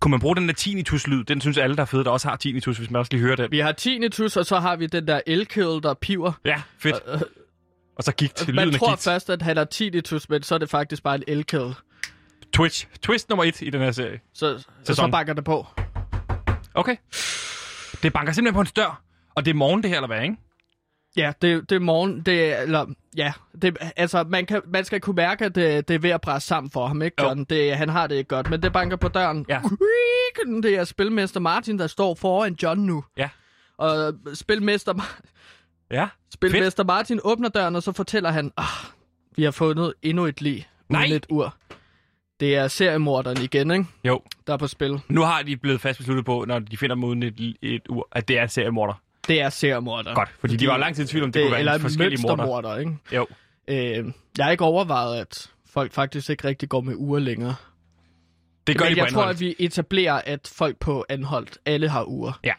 [SPEAKER 1] Kunne man bruge den der tinnitus-lyd? Den synes alle, der er fede, der også har tinnitus, hvis man også lige hører den.
[SPEAKER 2] Vi har tinnitus, og så har vi den der elkødel, der piver.
[SPEAKER 1] Ja, fedt. Og så gigt. Lyden
[SPEAKER 2] Øh, Man
[SPEAKER 1] af
[SPEAKER 2] tror
[SPEAKER 1] gigt.
[SPEAKER 2] først, at han har tinnitus, men så er det faktisk bare en elkødel.
[SPEAKER 1] Twitch. Twist nummer et i den her serie.
[SPEAKER 2] Så, så, så
[SPEAKER 1] Sæson.
[SPEAKER 2] banker det på.
[SPEAKER 1] Okay. Det banker simpelthen på en dør. Og det er morgen, det her, eller hvad, ikke?
[SPEAKER 2] Ja, det, det er morgen. Det, er- eller, ja, det, altså, man, kan, man skal kunne mærke, at det, det er ved at bræsse sammen for ham, ikke, John? Det, han har det ikke godt, men det banker på døren. Ja. Det er spilmester Martin, der står foran John nu.
[SPEAKER 1] Ja.
[SPEAKER 2] Og spilmester, Mar-
[SPEAKER 1] Ja.
[SPEAKER 2] spilmester Martin åbner døren, og så fortæller han, oh, vi har fundet endnu et lig
[SPEAKER 1] Nej.
[SPEAKER 2] uden et ur. Det er seriemorderen igen, ikke?
[SPEAKER 1] Jo.
[SPEAKER 2] Der er på spil.
[SPEAKER 1] Nu har de blevet fast besluttet på, når de finder dem uden et, et ur, at det er seriemorder.
[SPEAKER 2] Det er seriemorderen.
[SPEAKER 1] Godt, fordi de var lang tid i tvivl om, det kunne være
[SPEAKER 2] eller
[SPEAKER 1] forskellige morder.
[SPEAKER 2] mønstermorder, ikke?
[SPEAKER 1] Jo.
[SPEAKER 2] Øh, jeg har ikke overvejet, at folk faktisk ikke rigtig går med uger længere.
[SPEAKER 1] Det gør
[SPEAKER 2] Men
[SPEAKER 1] de på
[SPEAKER 2] jeg tror,
[SPEAKER 1] Anholt.
[SPEAKER 2] at vi etablerer, at folk på anholdt, alle har uger.
[SPEAKER 1] Ja.
[SPEAKER 2] Det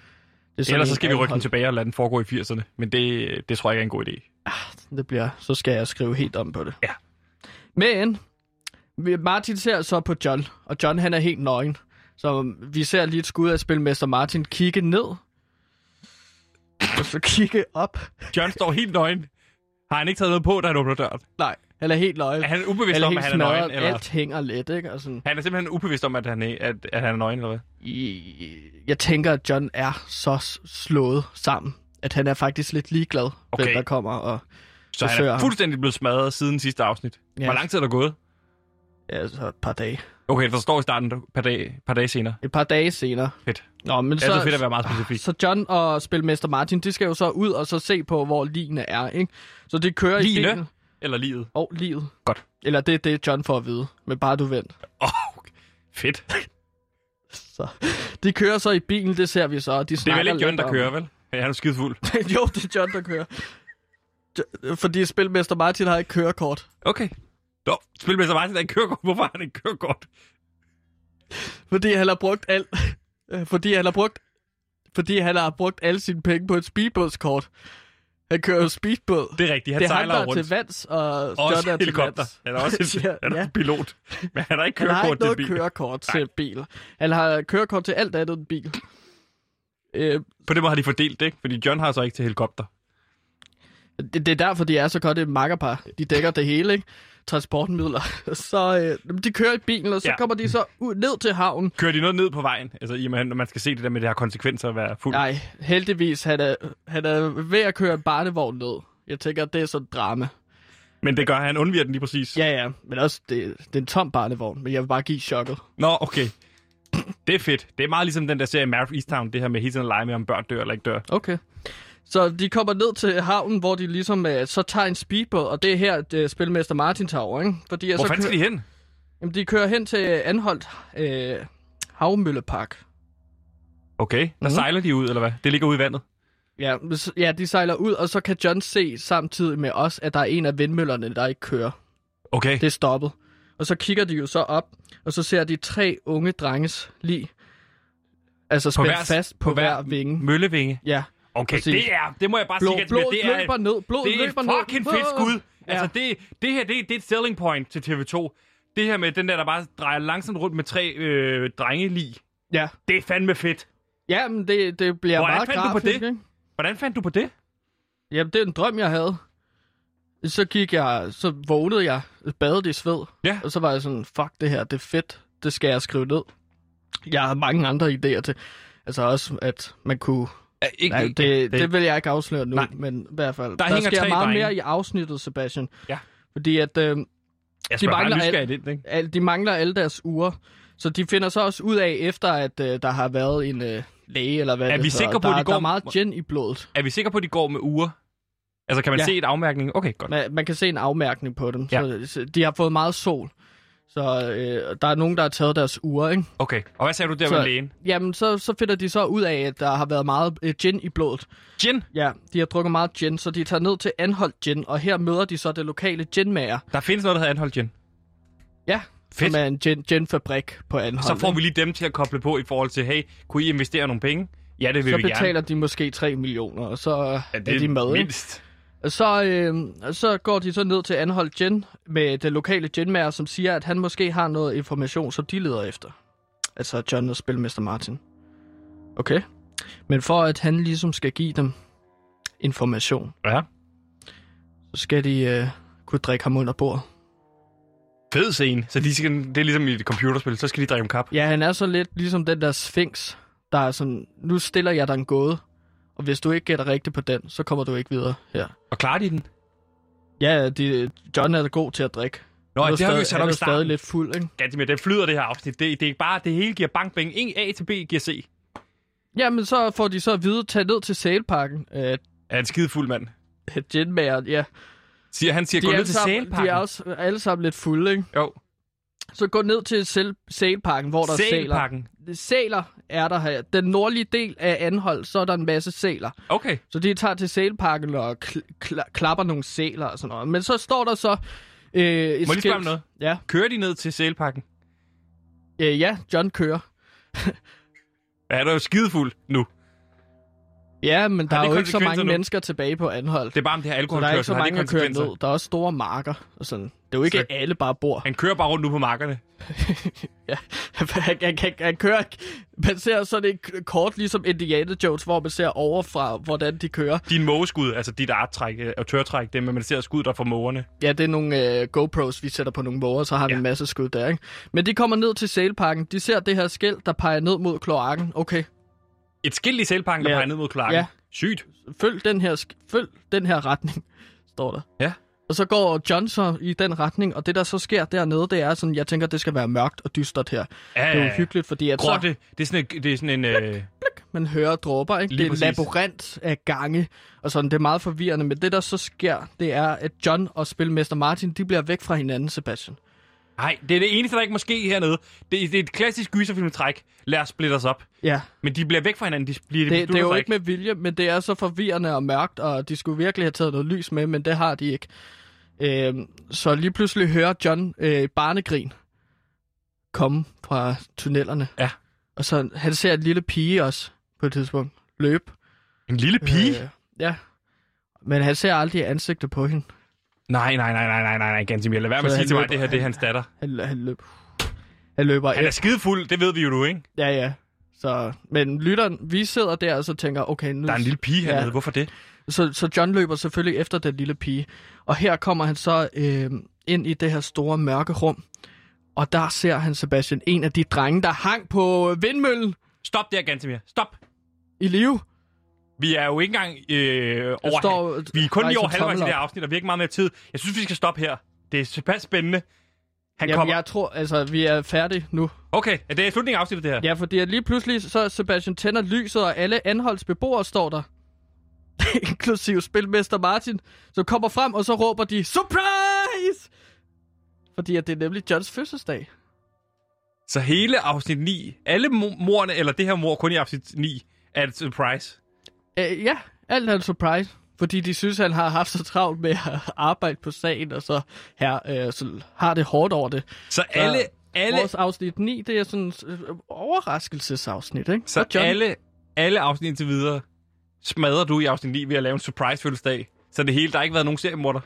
[SPEAKER 2] er sådan
[SPEAKER 1] Ellers så
[SPEAKER 2] en
[SPEAKER 1] skal vi rykke den
[SPEAKER 2] anholdt.
[SPEAKER 1] tilbage og lade den foregå i 80'erne. Men det, det tror jeg ikke er en god idé.
[SPEAKER 2] Det bliver, så skal jeg skrive helt om på det.
[SPEAKER 1] Ja.
[SPEAKER 2] Men vi- Martin ser så på John, og John han er helt nøgen. Så vi ser lige et skud af spilmester Martin kigge ned, og så kigge op.
[SPEAKER 1] John står helt nøgen. Har han ikke taget noget på, da han åbner døren?
[SPEAKER 2] Nej, han er helt nøgen.
[SPEAKER 1] Er han ubevidst
[SPEAKER 2] Eller
[SPEAKER 1] om,
[SPEAKER 2] helt
[SPEAKER 1] at han er nøgen,
[SPEAKER 2] smadret.
[SPEAKER 1] eller?
[SPEAKER 2] Alt hænger lidt, ikke? Og sådan.
[SPEAKER 1] Han er simpelthen ubevidst om, at han, er- at, at han er nøgen, eller hvad?
[SPEAKER 2] Jeg tænker, at John er så s- slået sammen, at han er faktisk lidt ligeglad, okay. hvem der kommer og
[SPEAKER 1] Så han
[SPEAKER 2] besøger
[SPEAKER 1] er
[SPEAKER 2] ham.
[SPEAKER 1] fuldstændig blevet smadret siden sidste afsnit.
[SPEAKER 2] Ja.
[SPEAKER 1] Hvor lang tid er der gået?
[SPEAKER 2] Ja, så et par dage.
[SPEAKER 1] Okay, det forstår i starten et par dage, par dage senere.
[SPEAKER 2] Et par dage senere.
[SPEAKER 1] Fedt.
[SPEAKER 2] Nå, men
[SPEAKER 1] det er så fedt at være meget specifik.
[SPEAKER 2] Så John og Spilmester Martin, de skal jo så ud og så se på, hvor ligene er, ikke? Så det kører i bilen.
[SPEAKER 1] Ligene? Eller livet?
[SPEAKER 2] Og livet.
[SPEAKER 1] Godt.
[SPEAKER 2] Eller det er det, John får at vide. Men bare du vent.
[SPEAKER 1] Fedt.
[SPEAKER 2] Så. [laughs] De kører så i bilen, det ser vi så. og De
[SPEAKER 1] Det er vel ikke John, der kører, vel? Han er jo skide fuld.
[SPEAKER 2] [laughs] jo, det er John, der kører. Jo- Fordi Spilmester Martin har ikke kørekort.
[SPEAKER 1] Okay. Nå, spilmester Martin har ikke kørekort. Hvorfor har han ikke kørekort?
[SPEAKER 2] Fordi han har brugt alt. [laughs] Fordi han har brugt... Fordi han har brugt alle sine penge på et speedbådskort. Han kører jo speedbåd.
[SPEAKER 1] Det er rigtigt, han
[SPEAKER 2] det er
[SPEAKER 1] sejler
[SPEAKER 2] ham, der er
[SPEAKER 1] rundt.
[SPEAKER 2] til vands, og
[SPEAKER 1] Også
[SPEAKER 2] John er til
[SPEAKER 1] helikopter.
[SPEAKER 2] vands.
[SPEAKER 1] Han er [laughs]
[SPEAKER 2] [laughs]
[SPEAKER 1] også
[SPEAKER 2] Ja,
[SPEAKER 1] en, han er
[SPEAKER 2] ja.
[SPEAKER 1] en pilot. Men han har ikke
[SPEAKER 2] Han
[SPEAKER 1] kørekort
[SPEAKER 2] har ikke
[SPEAKER 1] til
[SPEAKER 2] noget
[SPEAKER 1] bil.
[SPEAKER 2] kørekort til bil. Han har kørekort til alt andet end bil. Øh,
[SPEAKER 1] På den måde har de fordelt det, ikke? Fordi John har så ikke til helikopter.
[SPEAKER 2] det, det er derfor, de er så godt et makkerpar. De dækker det hele, ikke? transportmidler, [laughs] så øh, de kører i bilen, og så
[SPEAKER 1] Ja.
[SPEAKER 2] ja. kommer de så ud, ned til havnen.
[SPEAKER 1] Kører de noget ned på vejen? Altså, i og med, at man skal se det der med, at det har konsekvenser at være fuld.
[SPEAKER 2] Nej, heldigvis, han er, han er ved at køre en barnevogn ned. Jeg tænker, det er sådan et drama.
[SPEAKER 1] Men det gør han, undviger den lige præcis.
[SPEAKER 2] Ja, ja, men også, det, det er en tom barnevogn, men jeg vil bare give chokket.
[SPEAKER 1] Nå, okay. Det er fedt. Det er meget ligesom den der serie Mare of Easttown, det her med hele tiden at lege med, om børn dør eller ikke dør.
[SPEAKER 2] Okay. Så de kommer ned til havnen, hvor de ligesom øh, så tager en speedbåd, og det er her, at øh, spilmester Martin tager over, ikke? Fordi,
[SPEAKER 1] Hvor fanden skal de hen?
[SPEAKER 2] Jamen, de kører hen til øh, Anholdt øh, Havmøllepark.
[SPEAKER 1] Okay, der
[SPEAKER 2] Mhm.
[SPEAKER 1] mm-hmm. sejler de ud, eller hvad? Det ligger ude i vandet.
[SPEAKER 2] Ja, s- ja, de sejler ud, og så kan John se samtidig med os, at der er en af vindmøllerne, der ikke kører.
[SPEAKER 1] Okay.
[SPEAKER 2] Det er stoppet. Og så kigger de jo så op, og så ser de tre unge drenges lig. Altså spændt fast på hver vinge.
[SPEAKER 1] Møllevinge?
[SPEAKER 2] Ja.
[SPEAKER 1] Okay,
[SPEAKER 2] præcis.
[SPEAKER 1] det er, det må jeg bare
[SPEAKER 2] Blod-
[SPEAKER 1] sige, at
[SPEAKER 2] blodet
[SPEAKER 1] det er,
[SPEAKER 2] løber ned, blodet
[SPEAKER 1] det er et
[SPEAKER 2] løber ned.
[SPEAKER 1] fucking fedt skud. Altså, det, det her, det, det er et selling point til TV2. Det her med den der, der bare drejer langsomt rundt med tre øh, drengelig.
[SPEAKER 2] Ja.
[SPEAKER 1] Det er fandme fedt.
[SPEAKER 2] Jamen, det, det bliver
[SPEAKER 1] Hvordan
[SPEAKER 2] meget
[SPEAKER 1] fandt du på
[SPEAKER 2] grafisk,
[SPEAKER 1] det?
[SPEAKER 2] Ikke?
[SPEAKER 1] Hvordan fandt du på det?
[SPEAKER 2] Jamen, det er en drøm, jeg havde. Så gik jeg, så vågnede jeg, badede i sved.
[SPEAKER 1] Ja.
[SPEAKER 2] Og så var jeg sådan, fuck det her, det er fedt. Det skal jeg skrive ned. Jeg har mange andre idéer til. Altså også, at man kunne...
[SPEAKER 1] Ja,
[SPEAKER 6] ikke-
[SPEAKER 2] Nej, det, det,
[SPEAKER 6] det-
[SPEAKER 2] det, vil jeg ikke afsløre nu, Nej. men i hvert fald.
[SPEAKER 6] Der
[SPEAKER 2] Der, der
[SPEAKER 6] hænger
[SPEAKER 2] sker
[SPEAKER 6] tre
[SPEAKER 2] meget
[SPEAKER 6] drenge.
[SPEAKER 2] mere i afsnittet, Sebastian.
[SPEAKER 1] Ja.
[SPEAKER 2] Fordi at... Øh,
[SPEAKER 1] Jeg spørger bare nysgerrig
[SPEAKER 2] al-
[SPEAKER 1] lidt, ikke?
[SPEAKER 2] al- de mangler alle deres uger. Så de finder så også ud af, efter at øh, der har været en øh, læge, eller hvad
[SPEAKER 1] Er
[SPEAKER 2] det
[SPEAKER 1] vi
[SPEAKER 2] hedder.
[SPEAKER 1] sikre på,
[SPEAKER 2] der,
[SPEAKER 1] at de går-
[SPEAKER 2] der er meget gin i blodet.
[SPEAKER 1] Er vi sikre på, at de går med uger? Altså, kan man ja.
[SPEAKER 2] Ja.
[SPEAKER 1] se et afmærkning? Okay, godt.
[SPEAKER 2] Man, man kan se en afmærkning på dem.
[SPEAKER 1] Ja.
[SPEAKER 2] Ja. Så, så de har fået meget sol. Så øh, der er nogen, der har taget deres uger, ikke?
[SPEAKER 1] Okay, og hvad sagde du der
[SPEAKER 2] så,
[SPEAKER 1] med lægen?
[SPEAKER 2] Jamen, så, så finder de så ud af, at der har været meget øh, gin i blodet.
[SPEAKER 1] Gin?
[SPEAKER 2] Ja, de har drukket meget gin, så de tager ned til Anholdt Gin, og her møder de så det lokale ginmager.
[SPEAKER 1] Der findes noget, der hedder Anholdt Gin.
[SPEAKER 2] Ja, Fedt. som er en gin, ginfabrik på Anholdt.
[SPEAKER 1] Så får
[SPEAKER 2] ikke?
[SPEAKER 1] vi lige dem til at koble på i forhold til, hey, kunne I investere nogle penge? Ja, det vil
[SPEAKER 2] så
[SPEAKER 1] vi
[SPEAKER 2] betaler
[SPEAKER 1] gerne.
[SPEAKER 2] de måske 3 millioner, og så ja,
[SPEAKER 1] det
[SPEAKER 2] er de med. ikke?
[SPEAKER 1] mindst.
[SPEAKER 2] Og Så, øh, og så går de så ned til Anholdt Gin med det lokale ginmager, som siger, at han måske har noget information, som de leder efter. Altså John og Spilmester Martin. Okay. Men for at han ligesom skal give dem information,
[SPEAKER 1] ja.
[SPEAKER 2] så skal de øh, kunne drikke ham under bordet.
[SPEAKER 1] Fed scene. Så de skal, det er ligesom i et computerspil, så skal de drikke om kap.
[SPEAKER 2] Ja, han er så lidt ligesom den der Sphinx, der er sådan, nu stiller jeg dig en gåde, og hvis du ikke gætter rigtigt på den, så kommer du ikke videre her.
[SPEAKER 1] Og klarer de den?
[SPEAKER 2] Ja, de, John er god til at drikke.
[SPEAKER 1] Nå,
[SPEAKER 2] Han er
[SPEAKER 1] det har vi jo
[SPEAKER 2] stadig-
[SPEAKER 1] sat
[SPEAKER 2] han
[SPEAKER 1] op
[SPEAKER 2] er
[SPEAKER 1] i starten.
[SPEAKER 2] stadig lidt fuld, ikke?
[SPEAKER 1] Ganske mere, det flyder det her afsnit. Det, det er bare, det hele giver bank, bang. En A til B giver C.
[SPEAKER 2] Jamen, så får de så at vide, tag ned til sælparken. Øh,
[SPEAKER 1] Er en skide fuld mand.
[SPEAKER 2] Genmageren, ja.
[SPEAKER 1] Siger, han siger, gå
[SPEAKER 2] er
[SPEAKER 1] ned
[SPEAKER 2] alle
[SPEAKER 1] til
[SPEAKER 2] sammen-
[SPEAKER 1] sælparken.
[SPEAKER 2] De er også alle sammen lidt fulde, ikke?
[SPEAKER 1] Jo.
[SPEAKER 2] Så gå ned til sæl- sælparken, hvor der
[SPEAKER 1] Sælparken?
[SPEAKER 2] er sæler. Sæler er der her. Den nordlige del af Anhold, så er der en masse sæler.
[SPEAKER 1] Okay.
[SPEAKER 2] Så de tager til sælparken og kl- kla- klapper nogle sæler og sådan noget. Men så står der så... Øh,
[SPEAKER 1] Må
[SPEAKER 2] et
[SPEAKER 1] jeg lige
[SPEAKER 2] skilt-
[SPEAKER 1] spørge om noget?
[SPEAKER 2] Ja.
[SPEAKER 1] Kører de ned til sælparken?
[SPEAKER 2] Øh, ja, John kører.
[SPEAKER 1] Ja, han er jo skidefuld nu.
[SPEAKER 2] Ja, men der
[SPEAKER 1] Har
[SPEAKER 2] er
[SPEAKER 1] det
[SPEAKER 2] jo ikke så
[SPEAKER 1] konsekvenser
[SPEAKER 2] mange
[SPEAKER 1] nu?
[SPEAKER 2] nu? mennesker tilbage på Anhold.
[SPEAKER 1] Det er bare om det her
[SPEAKER 2] Så der er ikke så
[SPEAKER 1] alkoholkørsel. Har det
[SPEAKER 2] mange, der kører
[SPEAKER 1] konsekvenser?
[SPEAKER 2] ned. Der er også store marker og sådan. Det er jo ikke
[SPEAKER 1] Så-
[SPEAKER 2] så... alle bare bor. [laughs]
[SPEAKER 1] Han kører bare rundt nu på markerne.
[SPEAKER 2] han, han, han, han kører, man ser sådan et kort, ligesom Indiana Jones, hvor man ser overfra, hvordan de kører.
[SPEAKER 1] Din mågeskud, altså dit arttræk øh, og tørtræk, det med, man ser skud der fra mågerne.
[SPEAKER 2] Ja, det er nogle øh, GoPros, vi sætter på nogle måger, så har vi en masse skud der, ikke? Men de kommer ned til sælparken, de ser det her skilt, der peger ned mod kloakken. Okay,
[SPEAKER 1] Et skilt i sælparken, der
[SPEAKER 2] Ja.
[SPEAKER 1] peger ned mod kloakken.
[SPEAKER 2] Ja.
[SPEAKER 1] Sygt.
[SPEAKER 2] følg den her, sk- følg den her retning, [laughs] står der.
[SPEAKER 1] Ja.
[SPEAKER 2] Og så går Johnson i den retning, og det der så sker dernede, det er sådan, jeg tænker, det skal være mørkt og dystert her.
[SPEAKER 1] Ja,
[SPEAKER 2] det
[SPEAKER 1] ja,
[SPEAKER 2] er
[SPEAKER 1] ja.
[SPEAKER 2] uhyggeligt, fordi at så,
[SPEAKER 1] Grotte. Det er sådan, et, det er sådan en... Øh,
[SPEAKER 2] man hører dråber, ikke?
[SPEAKER 1] Lige
[SPEAKER 2] det er en
[SPEAKER 1] præcis.
[SPEAKER 2] labyrint af gange, og sådan, det er meget forvirrende, men det der så sker, det er, at John og spilmester Martin, de bliver væk fra hinanden, Sebastian.
[SPEAKER 1] nej, det er det eneste, der ikke må ske hernede. Det, det er et klassisk gyserfilmtræk. Lad os splitte os op.
[SPEAKER 2] Ja.
[SPEAKER 1] Men de bliver væk fra hinanden. De, bliver, de
[SPEAKER 2] Det, det er
[SPEAKER 1] beslutter
[SPEAKER 2] jo
[SPEAKER 1] sig
[SPEAKER 2] ikke med vilje, men det er så forvirrende og mørkt, og de skulle virkelig have taget noget lys med, men det har de ikke. Øhm, så lige pludselig hører John øh, barnegrin komme fra tunnelerne.
[SPEAKER 1] Ja.
[SPEAKER 2] Og så han ser en lille pige også på et tidspunkt løbe.
[SPEAKER 1] En lille pige?
[SPEAKER 2] Øh, ja. Men han ser aldrig ansigtet på hende.
[SPEAKER 1] Nej, nej, nej, nej, nej, nej, nej, Gansimir. Lad være med
[SPEAKER 2] Så
[SPEAKER 1] at sige
[SPEAKER 2] han
[SPEAKER 1] til mig, at
[SPEAKER 2] løber-
[SPEAKER 1] det her det er hans datter.
[SPEAKER 2] Han, han, løb, han løber
[SPEAKER 1] Han er skidefuld, det ved vi jo nu, ikke?
[SPEAKER 2] Ja, ja. Så, men lytteren, vi sidder der og så tænker, okay, nu...
[SPEAKER 1] Der er en lille pige hernede, hvorfor det?
[SPEAKER 2] Så, så John løber selvfølgelig efter den lille pige. Og her kommer han så øh, ind i det her store mørke rum. Og der ser han, Sebastian, en af de drenge, der hang på vindmøllen
[SPEAKER 1] Stop der, Gantemir. Stop.
[SPEAKER 2] i live.
[SPEAKER 1] Vi er jo ikke engang øh, over...
[SPEAKER 2] står-
[SPEAKER 1] Står, vi er kun lige
[SPEAKER 2] rejser
[SPEAKER 1] over halvvejs i
[SPEAKER 2] tommel
[SPEAKER 1] det her
[SPEAKER 2] op.
[SPEAKER 1] afsnit, og vi har ikke meget mere tid. Jeg synes, vi skal stoppe her. Det er tilpas spændende. Han
[SPEAKER 2] Jamen,
[SPEAKER 1] kommer...
[SPEAKER 2] jeg tror, altså, vi er færdige nu.
[SPEAKER 1] Okay, er det slutningen af afsnittet, det her?
[SPEAKER 2] Ja, fordi at lige pludselig, så er Sebastian tænder lyset, og alle Anholds beboere står [laughs] der. Inklusiv spilmester Martin, som kommer frem, og så råber de, Surprise! Fordi at det er nemlig Johns fødselsdag.
[SPEAKER 1] Så hele afsnit 9, alle mo- morerne, eller det her mor kun i afsnit 9, er et surprise.
[SPEAKER 2] Øh, ja, alt er en surprise. Fordi de synes, han har haft så travlt med at arbejde på sagen, og så, her, øh, så har det hårdt over det.
[SPEAKER 1] Så alle- alle-
[SPEAKER 2] Vores afsnit 9, det er sådan øh, overraskelsesafsnit, ikke?
[SPEAKER 1] Så
[SPEAKER 2] Og John-
[SPEAKER 1] alle, alle afsnit indtil videre smadrer du i afsnit 9 ved at lave en surprise fødselsdag. Så det hele, der har ikke været nogen seriemorder.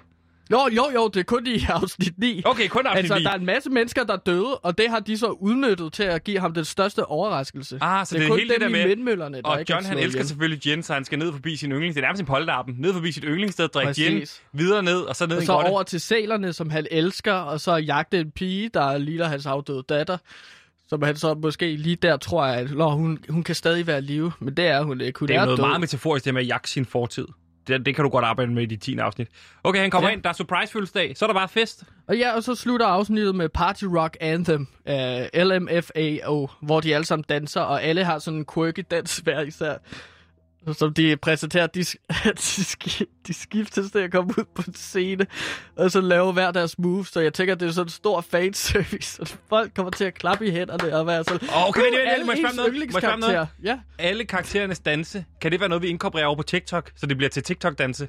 [SPEAKER 2] Jo, jo, jo, det er kun i afsnit 9.
[SPEAKER 1] Okay, kun afsnit
[SPEAKER 2] altså,
[SPEAKER 1] 9.
[SPEAKER 2] der er en masse mennesker, der er døde, og det har de så udnyttet til at give ham den største overraskelse.
[SPEAKER 1] Ah, så det,
[SPEAKER 2] er
[SPEAKER 1] er
[SPEAKER 2] kun
[SPEAKER 1] hele det
[SPEAKER 2] dem
[SPEAKER 1] der
[SPEAKER 2] i
[SPEAKER 1] med...
[SPEAKER 2] vindmøllerne, Øh, der
[SPEAKER 1] og
[SPEAKER 2] ikke er
[SPEAKER 1] John, han
[SPEAKER 2] slået
[SPEAKER 1] elsker
[SPEAKER 2] ihjel.
[SPEAKER 1] selvfølgelig gin, så han skal ned forbi sin yndlings... Det er nærmest en polterappen. Ned forbi sit yndlingssted, drikke gin,
[SPEAKER 2] Præcis.
[SPEAKER 1] videre ned, og så ned i
[SPEAKER 2] Og
[SPEAKER 1] en
[SPEAKER 2] så
[SPEAKER 1] grotte.
[SPEAKER 2] over til sælerne, som han elsker, og så jagte en pige, der ligner hans afdøde datter. Som han så måske lige der tror, at Nå, hun, hun kan stadig være i live, men det er hun ikke. Hun
[SPEAKER 1] Det er noget
[SPEAKER 2] død.
[SPEAKER 1] meget metaforisk, det med at jagte sin fortid. Det, det kan du godt arbejde med i dit 10. afsnit. Okay, han kommer
[SPEAKER 2] Ja.
[SPEAKER 1] ja. ind, der er surprise fødselsdag, så er der bare fest.
[SPEAKER 2] Og ja, og så slutter afsnittet med Party Rock Anthem, uh, LMFAO, hvor de alle sammen danser, og alle har sådan en quirky dans hver især. Som de præsenterer, de, sk- [laughs] de, sk- de skiftes til at komme ud på en scene, og så lave hver deres move. Så jeg tænker, det er sådan en stor fanservice, at folk kommer til at klappe i hænderne og være sådan...
[SPEAKER 1] Okay,
[SPEAKER 2] "Uh,
[SPEAKER 1] vent, vent,
[SPEAKER 2] alle
[SPEAKER 1] vent, må jeg spørge om
[SPEAKER 2] ens
[SPEAKER 1] noget? Må jeg spørge om noget?
[SPEAKER 2] yndlingskarakterer." Ja.
[SPEAKER 1] Alle karakterernes danse, kan det være noget, vi inkorporerer over på TikTok, så det bliver til TikTok-danse?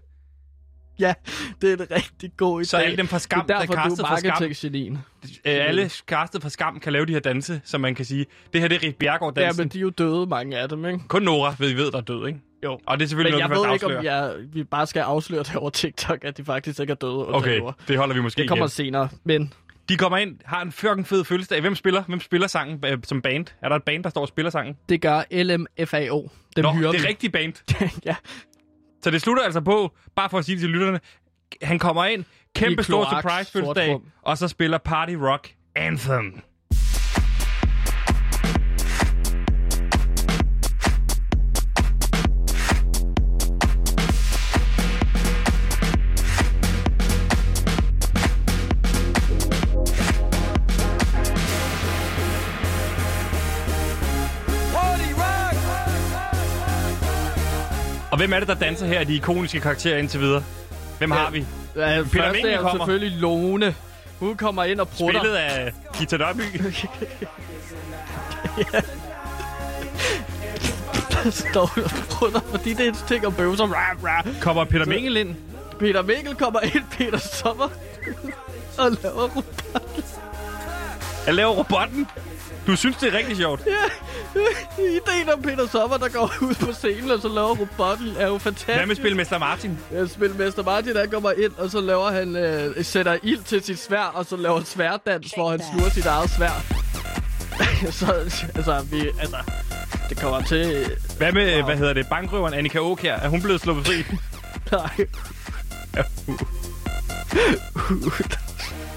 [SPEAKER 2] ja, det er en rigtig god idé.
[SPEAKER 1] Så alle dem fra Skam,
[SPEAKER 2] det er
[SPEAKER 1] der
[SPEAKER 2] derfor, du
[SPEAKER 1] castet
[SPEAKER 2] er
[SPEAKER 1] fra Skam.
[SPEAKER 2] marketing
[SPEAKER 1] Øh, alle castet fra Skam kan lave de her danse, så man kan sige, det her det er Rit
[SPEAKER 2] Ja,
[SPEAKER 1] Bjergård-dansen.
[SPEAKER 2] men de er jo døde, mange af dem, ikke?
[SPEAKER 1] Kun Nora ved, ved, der er død, ikke?
[SPEAKER 2] Jo.
[SPEAKER 1] Og det er
[SPEAKER 2] Men
[SPEAKER 1] selvfølgelig
[SPEAKER 2] jeg
[SPEAKER 1] noget,
[SPEAKER 2] ved
[SPEAKER 1] vi
[SPEAKER 2] ikke,
[SPEAKER 1] først
[SPEAKER 2] om jeg, vi bare skal afsløre det over TikTok, at de faktisk ikke er døde. under
[SPEAKER 1] Okay,
[SPEAKER 2] jord.
[SPEAKER 1] det holder vi måske
[SPEAKER 2] Det kommer
[SPEAKER 1] igen.
[SPEAKER 2] senere, men...
[SPEAKER 1] De kommer ind, har en fucking fed fødselsdag. Hvem spiller, hvem spiller sangen øh, som band? Er der et band, der står og spiller sangen?
[SPEAKER 2] Det gør LMFAO. Dem
[SPEAKER 1] Nå,
[SPEAKER 2] hyrer
[SPEAKER 1] det er
[SPEAKER 2] vi.
[SPEAKER 1] rigtig band.
[SPEAKER 2] [laughs] ja.
[SPEAKER 1] Så det slutter altså på, bare for at sige til lytterne, han kommer ind, kæmpe
[SPEAKER 2] I
[SPEAKER 1] stor
[SPEAKER 2] kloaks,
[SPEAKER 1] surprise
[SPEAKER 2] sort
[SPEAKER 1] fødselsdag,
[SPEAKER 2] rum.
[SPEAKER 1] og så spiller Party Rock Anthem. Og hvem er det, der danser her af de ikoniske karakterer indtil videre? Hvem har vi? Peter
[SPEAKER 2] Ja, Peter først
[SPEAKER 1] Winkel
[SPEAKER 2] er jo
[SPEAKER 1] kommer.
[SPEAKER 2] selvfølgelig Lone. Hun kommer ind og prutter.
[SPEAKER 1] Spillet af Gita Nørby.
[SPEAKER 2] [laughs] Der [laughs] står og prutter, fordi det er en ting om bøvser. Rah, rah.
[SPEAKER 1] Kommer Peter Mingel ind?
[SPEAKER 2] Peter Mikkel kommer ind, Peter Sommer, og laver robotten.
[SPEAKER 1] Jeg laver robotten. Du synes, det er rigtig sjovt.
[SPEAKER 2] Ja, [laughs] ideen om Peter Sommer, der går ud på scenen, og så laver robotten, er jo fantastisk.
[SPEAKER 1] Hvad med spilmester Martin?
[SPEAKER 2] Ja, Øh, spilmester Martin, han kommer ind, og så laver han, øh, sætter ild til sit svær, og så laver han sværdans, hvor han sluger sit eget svær. [laughs] så, altså, vi, altså, det kommer til... [laughs]
[SPEAKER 1] Hvad med, wow. hvad hedder det, bankrøveren Annika Åkær? Er hun blevet sluppet
[SPEAKER 2] [laughs]
[SPEAKER 1] fri?
[SPEAKER 2] Nej.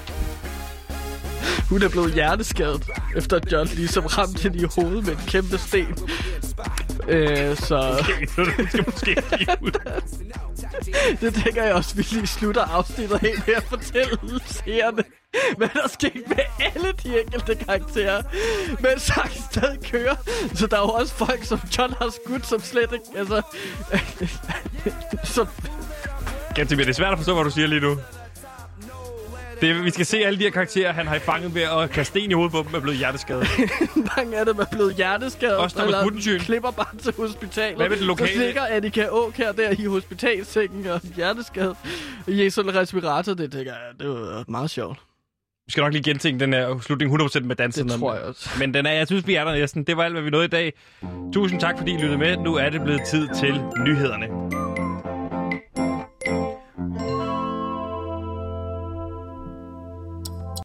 [SPEAKER 2] [laughs] Hun er blevet hjerteskadet, efter at John ligesom ramte hende i hovedet med en kæmpe sten. Øh, så...
[SPEAKER 1] det skal måske
[SPEAKER 2] Det tænker jeg også, vi lige slutter afsnittet helt med at fortælle seerne, hvad der skete med alle de enkelte karakterer. Men sangen stadig kører, så der er jo også folk, som John har skudt, som slet ikke... Altså, [laughs] som
[SPEAKER 1] Gantemir, det er svært at forstå, hvad du siger lige nu. Det, er- vi skal se alle de her karakterer, han har fanget ved at kaste sten i hovedet på dem, er blevet hjerteskadet.
[SPEAKER 2] mange af dem er blevet hjerteskadet,
[SPEAKER 1] Også der med guttensyn.
[SPEAKER 2] klipper bare til hospitalet.
[SPEAKER 1] Hvad med det lokale?
[SPEAKER 2] Så ligger Annika Åk her der i hospitalsengen og hjerteskadet. I sådan en respirator, det tænker jeg, det var meget sjovt.
[SPEAKER 1] Vi skal nok lige gentænke den her slutning 100% med dansen.
[SPEAKER 2] Det tror jeg også.
[SPEAKER 1] Men den er, jeg synes, vi er der næsten. Det var alt, hvad vi nåede i dag. Tusind tak, fordi I lyttede med. Nu er det blevet tid til nyhederne.